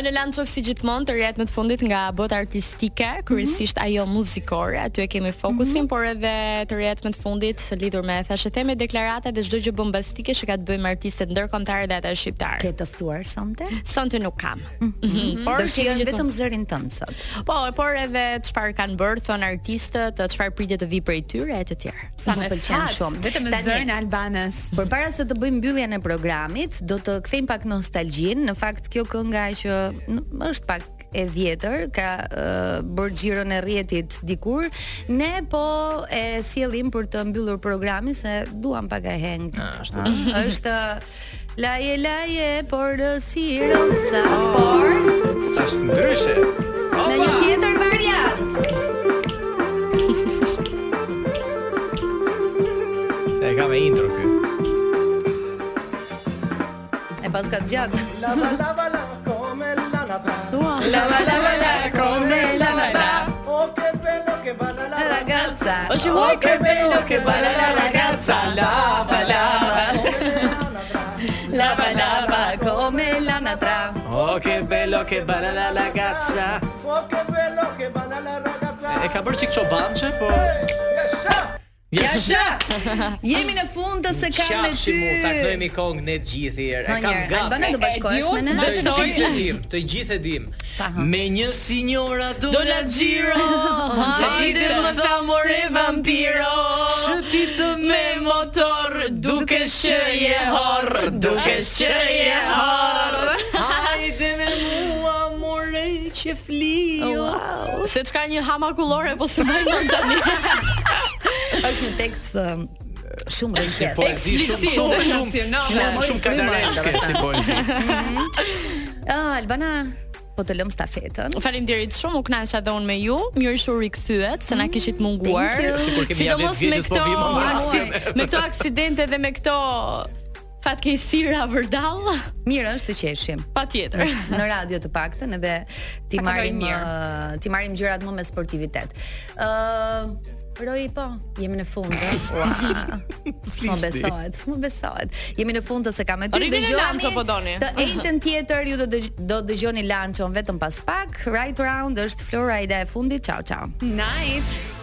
Në Lanço si gjithmonë të rjetë më të fundit nga bota artistike, kryesisht ajo muzikore, aty e kemi fokusin, por edhe të rjetë më të fundit lidhur me thashë theme deklarata dhe çdo gjë bombastike që ka të bëjë me artistët ndërkombëtarë dhe ata shqiptar.
Ke të ftuar sonte?
Sonte nuk kam. Mhm.
Por do
kemi
shijojmë
gjithmonë-
vetëm zërin tënd sot.
Po, e por edhe çfarë kanë bërë thon artistët, çfarë pritet të vi prej tyre e të tjerë.
Sa më pëlqen shumë. Tani-
Albanës.
Përpara se të bëjmë mbylljen e programit, do të kthejmë pak nostalgjinë. Në fakt kjo kënga që n- është pak e vjetër, ka uh, bërë xhiron e rrjetit dikur. Ne po e sjellim për të mbyllur programin se duam pak e heng. Ashtu. Është laje laje por sirën sa por
Tash ndryshe.
në një tjetër variant.
Se e ka me intro ky.
E pas ka gjatë.
Lava lava lava come la nata.
Lava lava lava come la nata.
Oh che bello che balla la
ragazza.
Oh,
Oh,
che bello che
balla la ragazza. Lava lava. Lava lava come l'anatra.
Oh, che bello che balla la ragazza.
Oh che bello che balla la ragazza.
E ka bërë çik çobançe, po.
Jasha. Jemi në fund të së kam me ty.
mu, taknojmë këngë ne të gjithë herë. E
Ha,
kam
njerë,
gati.
Albana do bashkohesh me ne?
Të
Besoj.
gjithë e dim, të gjithë e dim. Me një sinjora do
Do
na
na
xhiro.
xhiro,
Hajde
hajde
më tha more vampiro.
Shëti të me motor Duke që je horë Duke që je horë
Hajde me mua more që flio wow.
Se çka një hama kullore Po së bëjnë në tani
Është një tekst ëm, shumë
Si
rëndësishëm.
poezi shumë shumë shumë shumë shumë kadareske si poezi.
Ah, Albana, po të lëm stafetën.
Faleminderit shumë, u kënaqa dhe unë me ju. Mirë se u rikëthyet, se na kishit munguar.
thank you. Sikur kemi ja
Sidomos
vetë
me
vjetës, po
këto
vim ama
aksi- me këto aksidente dhe me këto fatkeqësira vërdall.
Mirë është të qeshim.
Patjetër.
Është Në radio të paktën edhe ti
Pak e
marrim
bëjmë mirë.
ë, ti marrim gjërat më me sportivitet. Ë Roi po, jemi në fund. ë. Ua. S'mo besohet, s'mo besohet. Jemi në fund të se kam e ty
Rriteni Lanço, po doni.
Të njëjtën tjetër ju do dëgj- do dëgjoni Lançon vetëm pas pak. Right round është Florida e fundit. Ciao ciao.
Night.